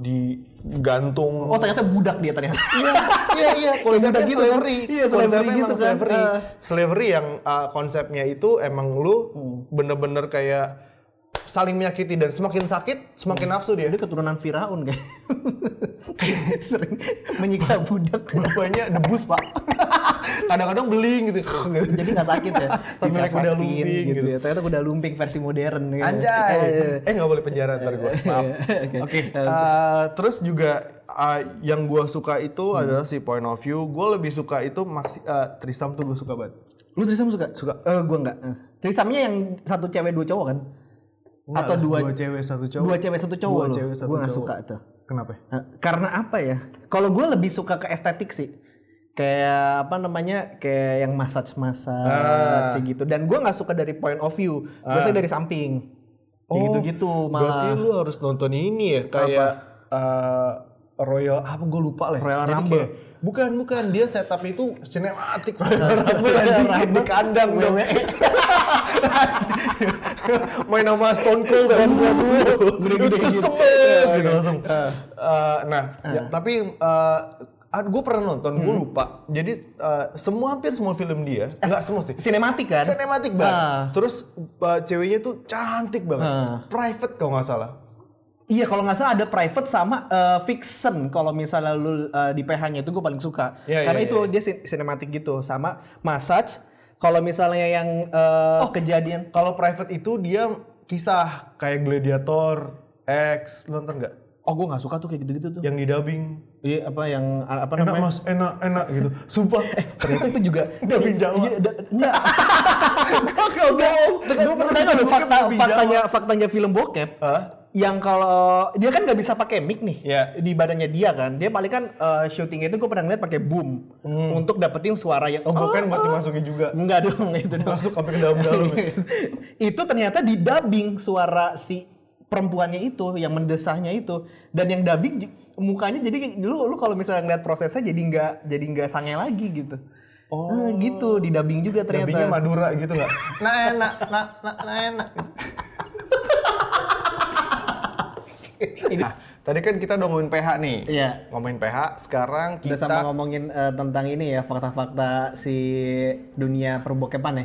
digantung.
Oh ternyata budak dia ternyata.
iya iya iya konsepnya
Udah gitu kan?
slavery.
Iya, slavery
Konsepnya emang
gitu kan.
Slavery.
Eh.
Slavery yang eh, konsepnya itu emang lu
Hmm.
bener-bener kayak saling menyakiti dan semakin sakit semakin nafsu dia.
Dia keturunan Firaun kayak. Sering menyiksa budak.
Bapaknya debus pak. Kadang-kadang beling gitu.
Jadi nggak sakit ya.
Sampai naik kuda
Disasatin
lumping
gitu,
gitu.
ya. Ternyata kuda lumping versi modern. Gitu. Eh,
Anjay. Iya, Eh nggak boleh penjara ntar gue. Maaf.
Iya. Oke.
Oke. eh, terus juga eh, yang gue suka
Hmm.
itu adalah si point of view. Gue lebih suka itu maksi eh, trisam tuh gue suka banget.
Lu trisam suka? Suka. Eh gua enggak. Trisamnya yang satu cewek dua cowok kan?
Enggak
Atau
lah,
dua,
dua cewek satu cowok.
Dua cewek satu cowok
Dua
loh.
cewek, satu
Gua nggak
cowok.
suka tuh.
Kenapa?
Nah, karena apa ya? Kalau gue lebih suka ke estetik sih. Kayak apa namanya? Kayak yang massage-massage
Ah.
kayak gitu. Dan gue nggak suka dari point of view. Gue suka dari samping. Kayak
Oh,
gitu-gitu
Berarti
malah.
lu harus nonton ini ya kayak eh, Royal apa gue lupa lah. ya.
Royal
Jadi
Rumble.
kayak- bukan bukan dia setup itu sinematik Royal Rumble anjing kayak di kandang dong. Main sama Stone Cold dan
Gede-gede gitu. Ah.
Kesemet gitu langsung. Eh, nah, ya, tapi gue pernah nonton, gue
Hmm.
lupa. Jadi eh, semua hampir semua film dia,
Eh,
enggak semua sih.
Sinematik kan?
Sinematik banget.
Ah.
Terus uh, ceweknya tuh cantik banget.
Ah.
Private kalau nggak salah.
Iya kalau nggak salah ada private sama eh, fiction kalau misalnya lu eh, di PH-nya itu gue paling suka
Iya,
karena
iya,
itu dia sin- sinematik gitu sama massage kalau misalnya yang eh,
Oh.
kejadian
Kalau private itu dia kisah kayak Gladiator, X, lo nonton nggak?
oh gue nggak suka tuh kayak gitu-gitu tuh
Yang di dubbing.
iya apa yang apa
Enak
namanya Eh.
mas, enak, enak gitu. Sumpah.
ternyata itu juga
Dubbing Jawa.
Iya, da- enggak gue pernah tanya lu fakta
Dubbing Jawa.
faktanya faktanya film bokep
Hah?
yang kalau dia kan nggak bisa pakai mic nih
Iya.
di badannya dia kan dia paling kan eh, syutingnya itu gue pernah ngeliat pakai boom untuk dapetin suara yang
Hmm. Oh, gue pengen buat dimasukin juga.
Enggak dong itu dong.
Masuk sampai ke dalam-dalam. ya.
itu ternyata di dubbing suara si perempuannya itu yang mendesahnya itu dan yang dubbing j- mukanya jadi dulu lu kalau misalnya ngeliat prosesnya jadi nggak jadi nggak sange lagi gitu.
Oh.
Eh, gitu di dubbing juga
Dubbingnya
ternyata.
Madura gitu nggak? Nah enak, nah, nah, nah enak. Nah, tadi kan kita udah ngomongin PH nih.
Iya.
Ngomongin PH, sekarang
Udah
kita...
sama ngomongin eh, tentang ini ya fakta-fakta si dunia perbokepan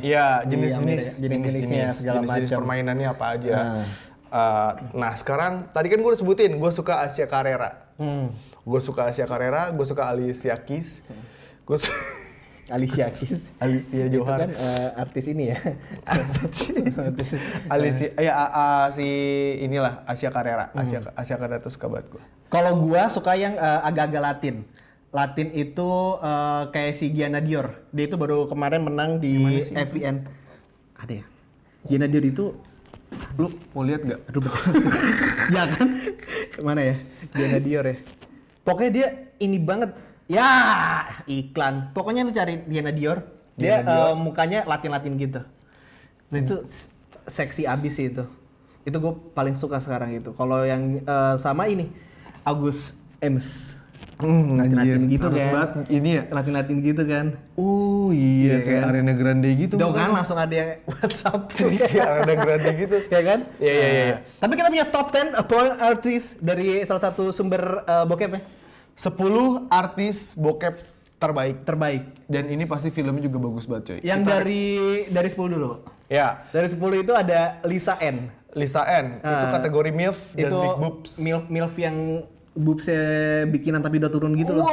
Iya,
ya. Di Amerika,
jenis-jenis, ya,
jenis-jenisnya segala
jenis-jenis
macam.
permainannya apa aja.
Nah.
Eh, nah sekarang, tadi kan gue udah sebutin, gue suka Asia Carrera.
Hmm.
Gue suka Asia Carrera, gue suka Alicia Keys. Gue su-
Alicia Keys.
Alicia Iya,
Itu
Johar.
kan eh, artis ini ya. artis.
Alicia, ya a- a- si inilah Asia Carrera. Asia, Asia Carrera tuh suka banget gue.
Kalau gua suka yang eh, agak-agak Latin. Latin itu eh, kayak si Giana Dior. Dia itu baru kemarin menang di FVN. Ada ya? Giana Dior itu
Lu mau lihat nggak?
aduh bentar. ya kan? Mana ya? Giana Dior ya. Pokoknya dia ini banget. Ya, iklan. Pokoknya lu cari Giana Dior. Dia eh, mukanya Latin-Latin gitu. Nah itu s- seksi abis sih itu. Itu gue paling suka sekarang itu. Kalau yang eh, sama ini Agus Ems.
Hmm,
Latin-Latin gitu
Harus
kan.
banget ini ya.
Latin-Latin gitu kan.
Oh iya, kayak Arena Grande gitu.
Dong kan langsung ada yang WhatsApp.
Iya, Arena Grande gitu.
ya kan?
Iya, iya, iya, iya.
Tapi kita punya top 10 porn artist dari salah satu sumber eh, bokep ya
10 artis bokep terbaik.
terbaik.
Dan ini pasti filmnya juga bagus banget coy.
Yang dari dari 10 dulu.
Iya. Ya,
Dari 10 itu ada Lisa N.
Lisa N. itu
Ah.
kategori MILF dan
itu
Big Boobs.
milf milf yang boobsnya bikinan tapi udah turun gitu loh.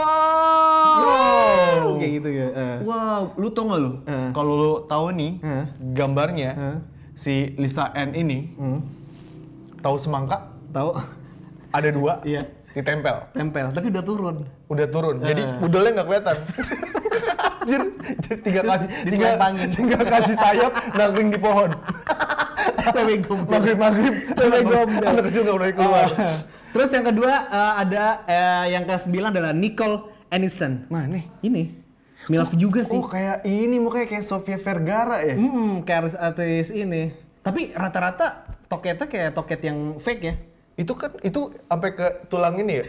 Wow!
Kayak gitu ya. eh.
Wow, lu tau gak lu?
Ah.
Kalau lu tahu nih
Ah.
gambarnya
Ah.
si Lisa N ini
Hmm.
tahu semangka
Tahu?
ada dua
Iya. Ah.
ditempel.
Tempel, tapi udah turun.
Udah turun. Jadi budolnya nggak kelihatan. Anjir, jadi tiga kasih tiga,
diselempangin.
tiga kasih sayap nangkring di pohon.
Tapi gombel.
Maghrib maghrib,
Lele gombel.
anak kecil nggak boleh keluar.
Ah. Terus yang kedua eh, ada eh, yang ke-9 adalah Nicole Aniston.
Mana?
Ini milf juga sih.
Oh kayak ini mukanya kayak Sofia Vergara ya?
Hmm, kayak artis- artis ini. Tapi rata-rata toketnya kayak toket yang fake ya.
Itu kan itu sampai ke tulang ini ya.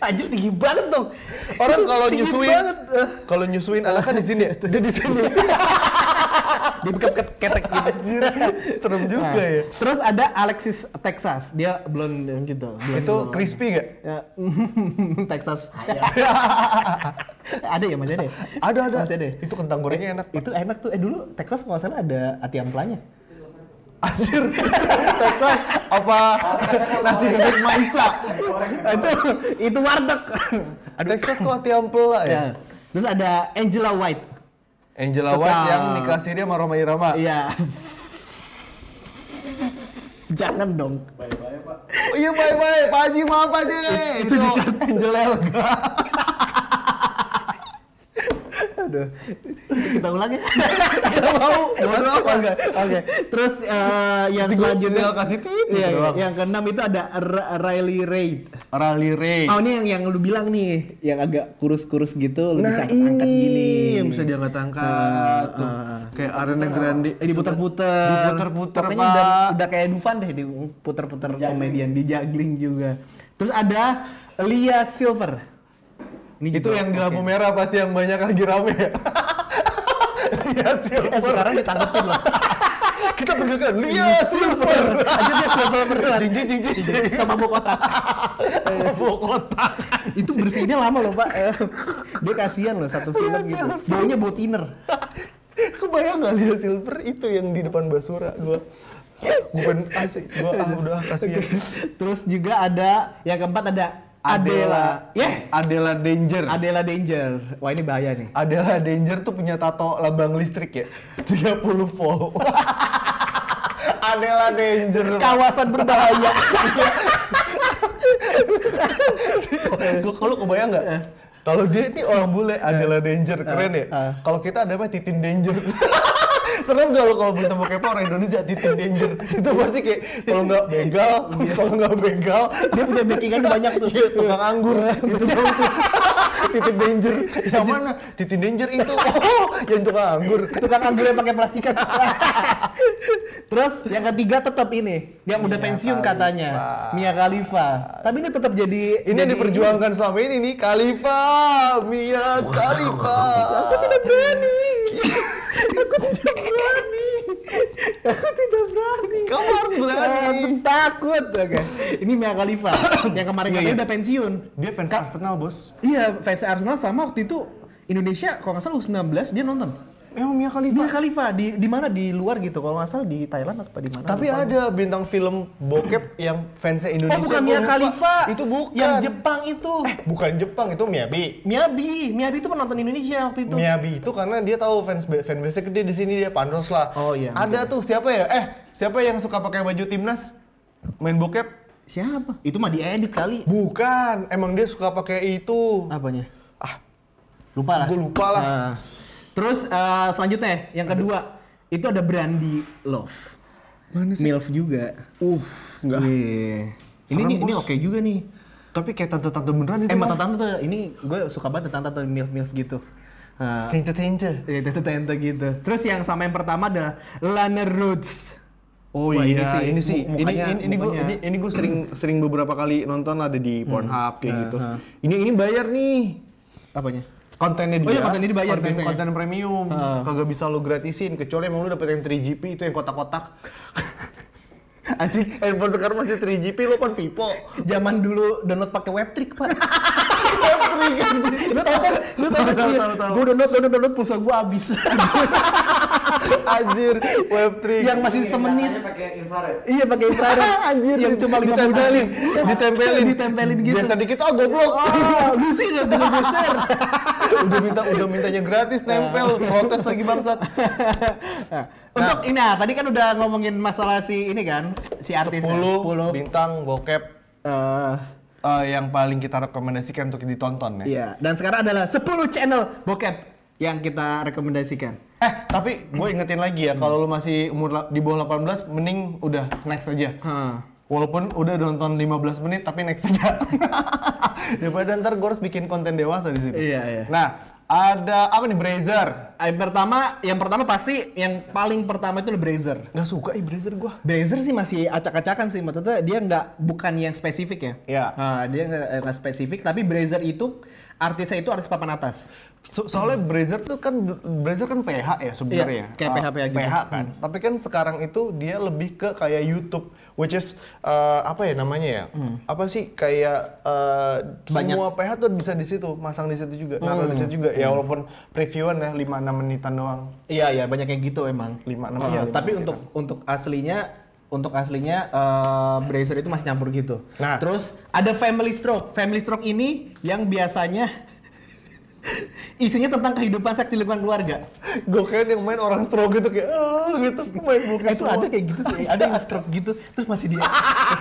Anjir tinggi banget dong.
Orang
Itu
kalau
tinggi
nyusuin,
banget. Eh,
kalau nyusuin anak kan di sini ya. Dia di sini.
Di bekap ketek gitu.
Anjir, serem juga
Nah,
ya.
Terus ada Alexis Texas. Dia blonde gitu. blonde
Itu
blonde.
crispy gak?
Ya, Texas. ada ya masih ada. ya?
Ada ada.
Masih ada. ya?
Itu kentang gorengnya enak.
Itu enak tuh. Eh dulu Texas kalau nggak salah ada ati amplanya.
Anjir. Tetes apa nasi bebek iya. maisa? Oh,
itu itu warteg. Aduh.
Texas tuh hati ampel lah ya.
Ya. Terus ada Angela White.
Angela White
Tetap.
yang nikah siri sama Roma Irama.
Iya. Jangan dong.
Oh, Iya bye bye, Pak Haji maaf Pak Haji. Itu Angela Elga.
Aduh. Kita ulang ya.
Gak mau, gak mau.
Oke. Oke. Terus eh, yang
Nanti gua
selanjutnya
tinggal kasih titik
Iya,
doang.
yang keenam itu ada Ra- Riley Reid.
Rally Ray.
Oh ini yang yang lu bilang nih, yang agak kurus-kurus gitu lu bisa
Nah
angkat
ini
gini. Nah,
yang bisa diangkat angkat tuh kayak Arena Grande
Eh diputer-puter.
Diputer-puter,
Pokoknya udah,
Pak.
udah kayak Dufan deh diputer-puter komedian di juggling juga. Terus ada Lia Silver. Ini
itu
juga
yang di
oke.
lampu merah pasti yang banyak lagi rame ya Lia Silver
Eh sekarang ditangkepin loh.
kita pergerakan Lia Silver
Aja dia Iya, silver Iya. beneran.
jing jing jing jing jing
Sama bawa kotak.
Bawa kotak
Itu bersihnya lama loh, Pak. Eh, Dia kasihan loh satu film gitu. Baunya bau thinner.
kebayang nggak Lia Silver itu yang di depan Basura gua gue pengen ah sih gue ah udah ah, kasihan
Terus juga ada yang keempat ada Adela. Yeah,
Adela Danger
Adela Danger. Wah ini bahaya nih.
Adela Danger tuh punya tato lambang listrik ya 30 volt Adela Danger
Kawasan berbahaya.
Gue kalau kebayang nggak? Kalau dia ini orang bule, Adela Danger keren ya.
eh.
Kalau kita ada apa? Titin Danger. Serem kalau kalau bertemu kepo orang Indonesia Titin Danger itu pasti kayak kalau nggak begal, kalau nggak begal
Dia punya backingan banyak tuh.
Iya, tukang anggur itu dong tuh. Titin Danger. Yang mana? Titin Danger itu. Oh, yang tukang anggur.
Tukang anggur yang pakai plastikan. Terus yang ketiga tetap ini, yang udah
Mia
pensiun
Khalifa.
katanya, Mia Khalifa. Tapi ini tetap jadi
Ini yang
jadi-
diperjuangkan selama ini nih, Khalifa, Mia Khalifa. ya? Aku tidak berani.
Aku tidak berani.
Kamu harus berani.
Aku takut. Oke. Ini Mia Khalifa yang kemarin
Iya,
katanya
iya.
udah pensiun.
Dia fans Arsenal, Bos.
Iya, fans Arsenal sama waktu itu Indonesia kalau nggak salah U19 dia nonton.
Emang Mia Khalifa.
Mia Khalifa di di mana di luar gitu kalau nggak salah di Thailand atau di mana?
Tapi
lupa.
ada bintang film bokep yang fansnya
Oh
Indonesia.
bukan
gua
Mia
lupa.
Khalifa.
Itu bukan. Eh.
Yang Jepang itu.
bukan Jepang, itu Miyabi.
Miabi, Miabi itu penonton Indonesia waktu itu.
Miyabi itu karena dia tahu fans fanbase gede di sini dia Pandros lah.
Oh, iya,
Ada tuh siapa ya? Eh, siapa yang suka pakai baju timnas main bokep?
Siapa? Itu mah diedit kali.
Bukan, emang dia suka pakai itu.
Apanya?
Ah,
Lupa lah.
Gua lupa lah.
Ah. terus eh, selanjutnya yang kedua itu ada Brandy Love.
Mana
Milf juga. Uh,
enggak.
Ini
Serem,
nih, ini
Bos.
oke juga nih.
Tapi kayak tante-tante beneran itu.
Eh, mata tante ini gue suka banget tante-tante milf-milf gitu. Eh,
Tente-tente.
ya, tante-tante gitu. Terus yang sama yang pertama adalah Lana Rhodes.
Oh
Wah, ini
iya,
sih,
ini sih,
mu-
ini
mukanya-
ini, ini gue
mukanya. Hmm.
ini, ini gua sering sering beberapa kali nonton ada di Pornhub kayak gitu.
ah.
Ini ini bayar nih
Apanya?
kontennya dia.
Oh iya, kontennya dibayar
konten,
biasanya. Ah.
konten premium. Kagak bisa lu gratisin kecuali emang lu dapet yang 3GP itu yang kotak-kotak. Anjing, handphone sekarang masih 3GP lu kan pipo.
Zaman dulu download pakai webtrick, Pak. lu tau kan? Lu tau
Tahu,
kan?
tahu, tahu, tahu.
Gue download, download, download, pulsa gue habis.
Anjir, web3.
yang masih semenit. Iya pakai infrared.
Anjir,
yang
di-
cuma lima
ditempelin, ditempelin,
ditempelin gitu.
Biasa dikit, oh goblok.
Oh, lu sih nggak bisa geser.
udah minta udah mintanya gratis nempel, protes lagi bangsat.
Nah, Untuk ini nah, tadi kan udah ngomongin masalah si ini kan, si artis
10,
10.
bintang bokep eh, yang paling kita rekomendasikan untuk ditonton ya.
Iya, dan sekarang adalah 10 channel bokep yang kita rekomendasikan.
Eh, tapi gue ingetin lagi ya, kalau lu masih umur la- di bawah 18, mending udah next aja.
Hmm.
Walaupun udah nonton 15 menit, tapi next aja. Daripada ntar gue harus bikin konten dewasa di sini.
Iya, iya.
Nah, ada apa nih, Brazer?
Yang pertama, yang pertama pasti yang paling pertama itu The Brazer.
Gak suka ih Brazer gue.
Brazer sih masih acak-acakan sih, maksudnya dia nggak bukan yang spesifik ya.
Iya.
Ah, dia nggak nggak spesifik, tapi Brazer itu artisnya itu artis papan atas.
So- soalnya Brazer tuh kan Brazer kan PH ya sebenarnya.
Iya, kayak
Ah,
PH gitu.
PH kan. Tapi kan sekarang itu dia lebih ke kayak YouTube which is eh, apa ya namanya ya? Apa sih kayak eh,
Hmm. Banyak. Hmm.
semua PH tuh bisa di situ, masang di situ juga, naruh di situ juga. Ya walaupun previewan ya 5 6 menitan doang.
Iya iya banyak yang gitu emang.
Lima, enam,
Ah,
iya, lima,
tapi
enam,
untuk untuk aslinya untuk aslinya eh, Brazer itu masih nyampur gitu.
Nah.
Terus ada Family Stroke. Family Stroke ini yang biasanya isinya tentang kehidupan seks di lingkungan keluarga.
Gue kira yang main orang stroke gitu kayak ah gitu main bukan
itu ada kayak gitu sih, ada yang stroke gitu, terus masih dia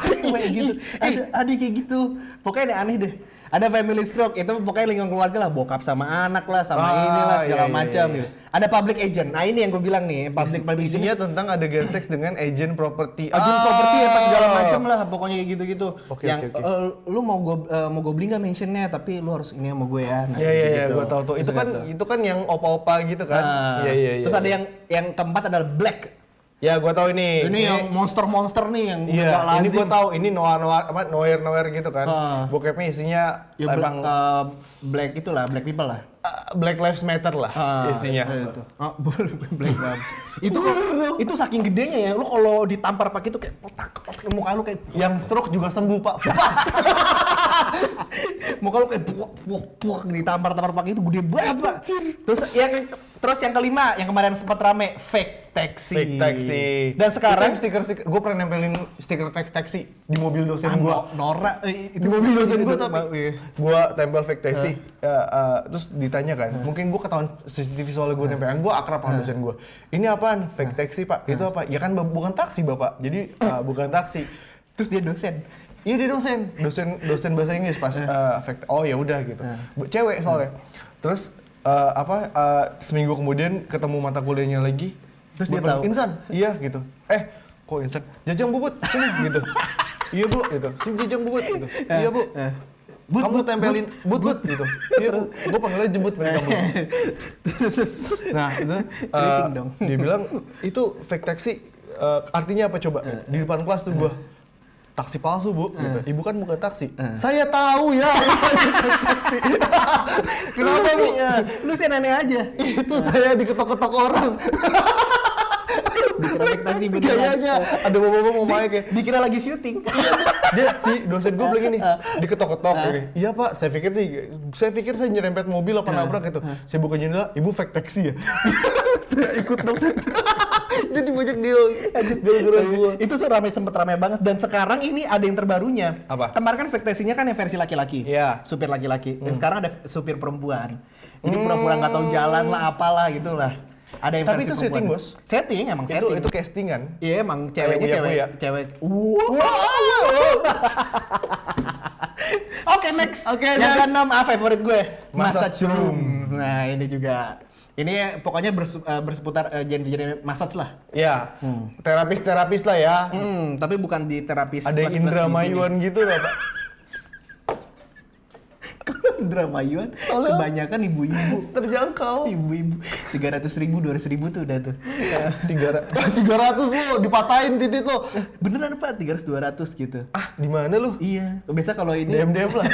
masih kayak gitu. Ada ada yang kayak gitu. Pokoknya ada aneh deh. Ada family stroke, itu pokoknya lingkungan keluarga lah, bokap sama anak lah, sama
Ah,
inilah
iya,
segala
iya,
macam
iya.
gitu. Ada public agent. Nah, ini yang gue bilang nih, public public agent.
isinya tentang adegan seks dengan agent property.
Agent
Ah.
properti apa segala macam lah, pokoknya kayak gitu-gitu.
Oke,
yang
oke, oke.
"Eh, lu mau gue mau gue beli nggak mentionnya, tapi lu harus ini sama gue ya. Nah,
Iya iya iya,
gitu.
gue tau tuh. Itu kan itu kan yang opa-opa gitu kan.
Ah.
Iya iya iya.
Terus ada yang yang keempat adalah black.
Ya gue tau ini.
Ini yang monster-monster nih yang
Iya.
nggak
Ini
lazim.
gue tau. Ini noir noir apa noir noir gitu kan.
Ah.
Bokepnya isinya
ya
emang
black, eh, black itulah black people lah
ah, Black Lives Matter lah
Ah,
isinya.
itu Ah, bukan black mom itu itu saking gedenya ya lu kalau ditampar pakai itu kayak petak petak muka lu kayak Iya.
Yang stroke juga sembuh pak. Pak!
Muka lu kayak puak puak puak ditampar-tampar pakai itu gede banget, Pak. Terus yang terus yang kelima yang kemarin sempat rame fake taxi.
Fake taxi.
Dan sekarang
stiker stiker gue pernah nempelin stiker fake taxi di mobil dosen
Ah,
gue.
no- Nora eh,
Di mobil dosen
itu-
gue tapi
iya.
gue tempel fake taxi. Ya, eh, terus ditanya kan, mungkin gue ketahuan CCTV soalnya gue nempel. Gue akrab sama dosen gue. Ini apaan? Fake taxi pak? Itu apa? Ya kan bu- bukan taksi bapak. Jadi eh, bukan taksi.
Terus dia dosen.
Iya dia dosen, dosen dosen bahasa Inggris pas eh, fact- oh ya udah gitu. Bu- Cewek soalnya. Terus eh, apa eh, seminggu kemudian ketemu mata kuliahnya lagi.
Terus
Gua
dia
bilang,
tahu.
Insan, iya gitu. Eh, kok Insan? Jajang bubut, sini gitu. Iya bu, gitu. Si jajang bubut gitu. Iya bu.
But,
kamu
but,
tempelin but, Eh, but, gitu. Iya bu, gue panggilnya jebut di kampus. Nah, itu eh,
Keriting dong.
dia bilang itu fake taxi eh, artinya apa coba? Di depan kelas tuh gua taksi palsu, Bu, gitu. Ibu kan bukan taksi. Saya tahu ya. taksi. Kenapa, Bu?
Iya. Lu sih aneh aja.
itu saya diketok-ketok orang.
Dikira taksi beneran.
Kayaknya ada bapak-bapak mau main kayak
Dikira lagi syuting.
dia si dosen gue bilang gini, diketok-ketok gini. Iya pak, saya pikir nih, saya pikir saya nyerempet mobil apa nabrak gitu. Saya buka jendela, ibu fake taksi ya. saya ikut dong. Jadi banyak deal, gara-gara gue.
itu seramai sempet ramai banget dan sekarang ini ada yang terbarunya
Apa?
kemarin kan vektasinya kan yang versi laki-laki
Iya.
supir laki-laki dan sekarang ada supir perempuan jadi pura-pura nggak tahu jalan lah apalah gitulah ada yang
Hmm. Tapi
versi
itu
perempuan.
setting, Bos.
setting emang
Itu
setting
itu kan? castingan.
iya emang ceweknya
Kayak
cewek
Uya-Uya.
cewek wow
iya.
oke next
Oke,
yang
next.
keenam ah favorit gue
Massage
massage
room.
room nah ini juga ini pokoknya berse- eh, berseputar eh, genre-genre massage lah
Ya, terapis-terapis lah ya.
Hmm, tapi bukan di terapis
Ada yang Indra Mayuan gitu lah, Pak.
Indra Mayuan.
Tolong.
Kebanyakan ibu-ibu.
Terjangkau.
Ibu-ibu. 300 ribu, 200 ribu tuh udah tuh. Eh,
Iya. Tiga ratus lo dipatahin titit lo.
Beneran Pak, 300, 200 gitu.
Ah, di mana lu?
Iya, biasa kalau ini
DM DM lah.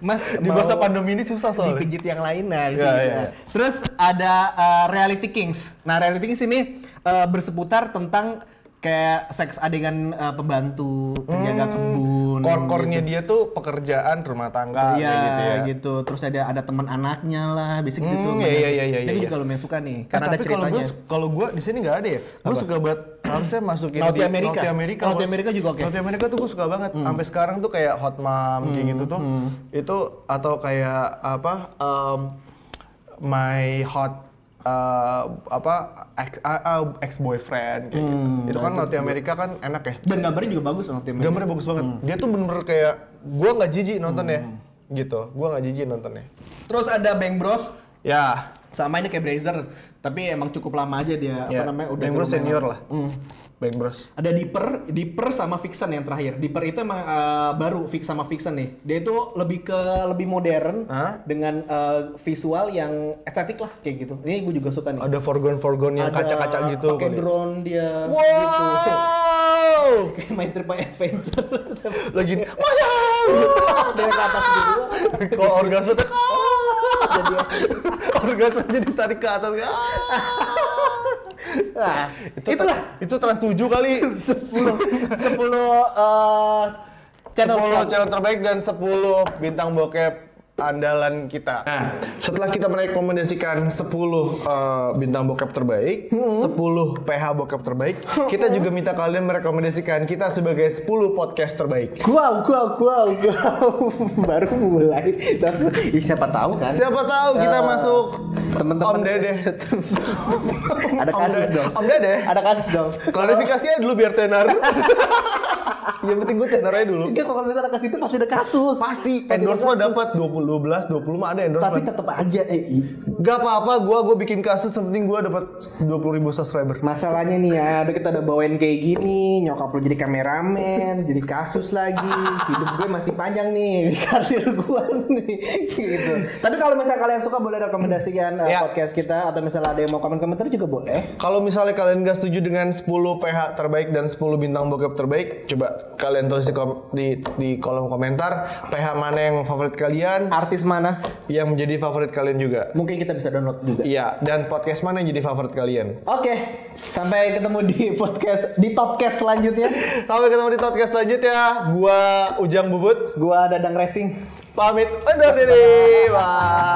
Mas
Di
mau
masa pandemi ini susah soalnya.
dipijit yang lain nah, di
Iya,
sini.
iya, iya.
Terus ada eh, Reality Kings. Nah, Reality Kings ini eh, berseputar tentang kayak seks adegan eh, pembantu, penjaga kebun.
Hmm. Kor-kornya dia tuh pekerjaan rumah tangga
gitu. Iya
kayak
gitu,
gitu ya.
terus ada ada teman anaknya lah, basic gitu.
Hmm,
banyak.
iya, iya, iya,
Ini
iya.
juga lumayan suka
Eh,
nih, karena ada
tapi kalau
ceritanya.
gua kalau gua di sini nggak ada ya. Gua suka banget harusnya masukin
Naughty
di
America.
Naughty America.
Naughty
Bos.
America juga oke. Hmm.
Naughty America tuh gua suka banget. Sampai sekarang tuh kayak Hot Mom kayak gitu tuh. Itu atau kayak apa em, My Hot eh, apa ex, boyfriend kayak
Hmm,
gitu. Itu kan Naughty America kan enak ya.
Dan gambarnya juga bagus loh tim.
Gambarnya bagus banget.
Hmm.
Dia tuh bener-bener kayak gua nggak jijik nonton ya. Gitu. Gua nggak jijik nontonnya.
Terus ada Bang Bros
Ya,
sama ini kayak Brazer, tapi emang cukup lama aja dia
ya.
apa namanya udah Hmm.
Bang Bros
lumayan-
senior lah. Bang Bros.
Ada Dipper, Dipper sama Vixen yang terakhir. Dipper itu emang eh, baru Vix sama Vixen nih. Dia itu lebih ke lebih modern
Hah?
dengan eh, visual yang estetik lah kayak gitu. Ini gue juga suka nih.
ada foreground-foreground yang
Ada
kaca-kaca gitu
Pakai
kali.
drone Gitu. dia. gitu.
Wow!
Kayak My Trip My Adventure.
Lagi Wow!
Dari ke atas gitu.
Kalau orgasme tuh jadi orgasme jadi tarik ke atas.
Nah,
Itu
itulah
itu trans 7 kali.
10 10 channel
10
vlog.
eh, channel terbaik dan 10 bintang bokep andalan kita. Nah, setelah kita merekomendasikan 10 eh, bintang bokep terbaik,
Hmm.
10 PH bokep terbaik, kita juga minta kalian merekomendasikan kita sebagai 10 podcast terbaik.
Wow, wow, wow, wow. Baru mulai. Terus, ih, siapa tahu kan?
Siapa tahu kita
Eh,
masuk Om
teman-teman-
Dedeh.
Ada
Om
kasus
Dedeh.
dong.
Om Dedeh.
Ada kasus dong.
Klarifikasinya dulu biar tenar. Yang penting gue tenar aja dulu.
Enggak kalau misalnya ke situ pasti ada kasus.
Pasti
ada
endorsement
kasus.
dapat 20 12 20 mah ada
Tapi
endorsement.
tetap aja eh i-
Gak apa-apa, gua gua bikin kasus yang penting gua dapat 20.000 subscriber.
Masalahnya nih ya, ada kita udah bawain kayak gini, nyokap lu jadi kameramen, jadi kasus lagi, hidup gue masih panjang nih, karir gue nih, gitu. Tapi kalau misalnya kalian suka boleh rekomendasikan uh,
Ya.
podcast kita, atau misalnya ada yang mau komen-komentar juga boleh.
Kalau misalnya kalian gak setuju dengan 10 PH terbaik dan 10 bintang bokep terbaik, coba kalian tulis di, kom- di, di kolom komentar PH mana yang favorit kalian,
artis mana
yang menjadi favorit kalian juga.
mungkin kita bisa download juga.
Iya, dan podcast mana yang jadi favorit kalian?
Oke, sampai ketemu di podcast di podcast selanjutnya.
Sampai ketemu di podcast selanjutnya. Gua Ujang Bubut
Gua Dadang Racing.
pamit undur diri. Bye.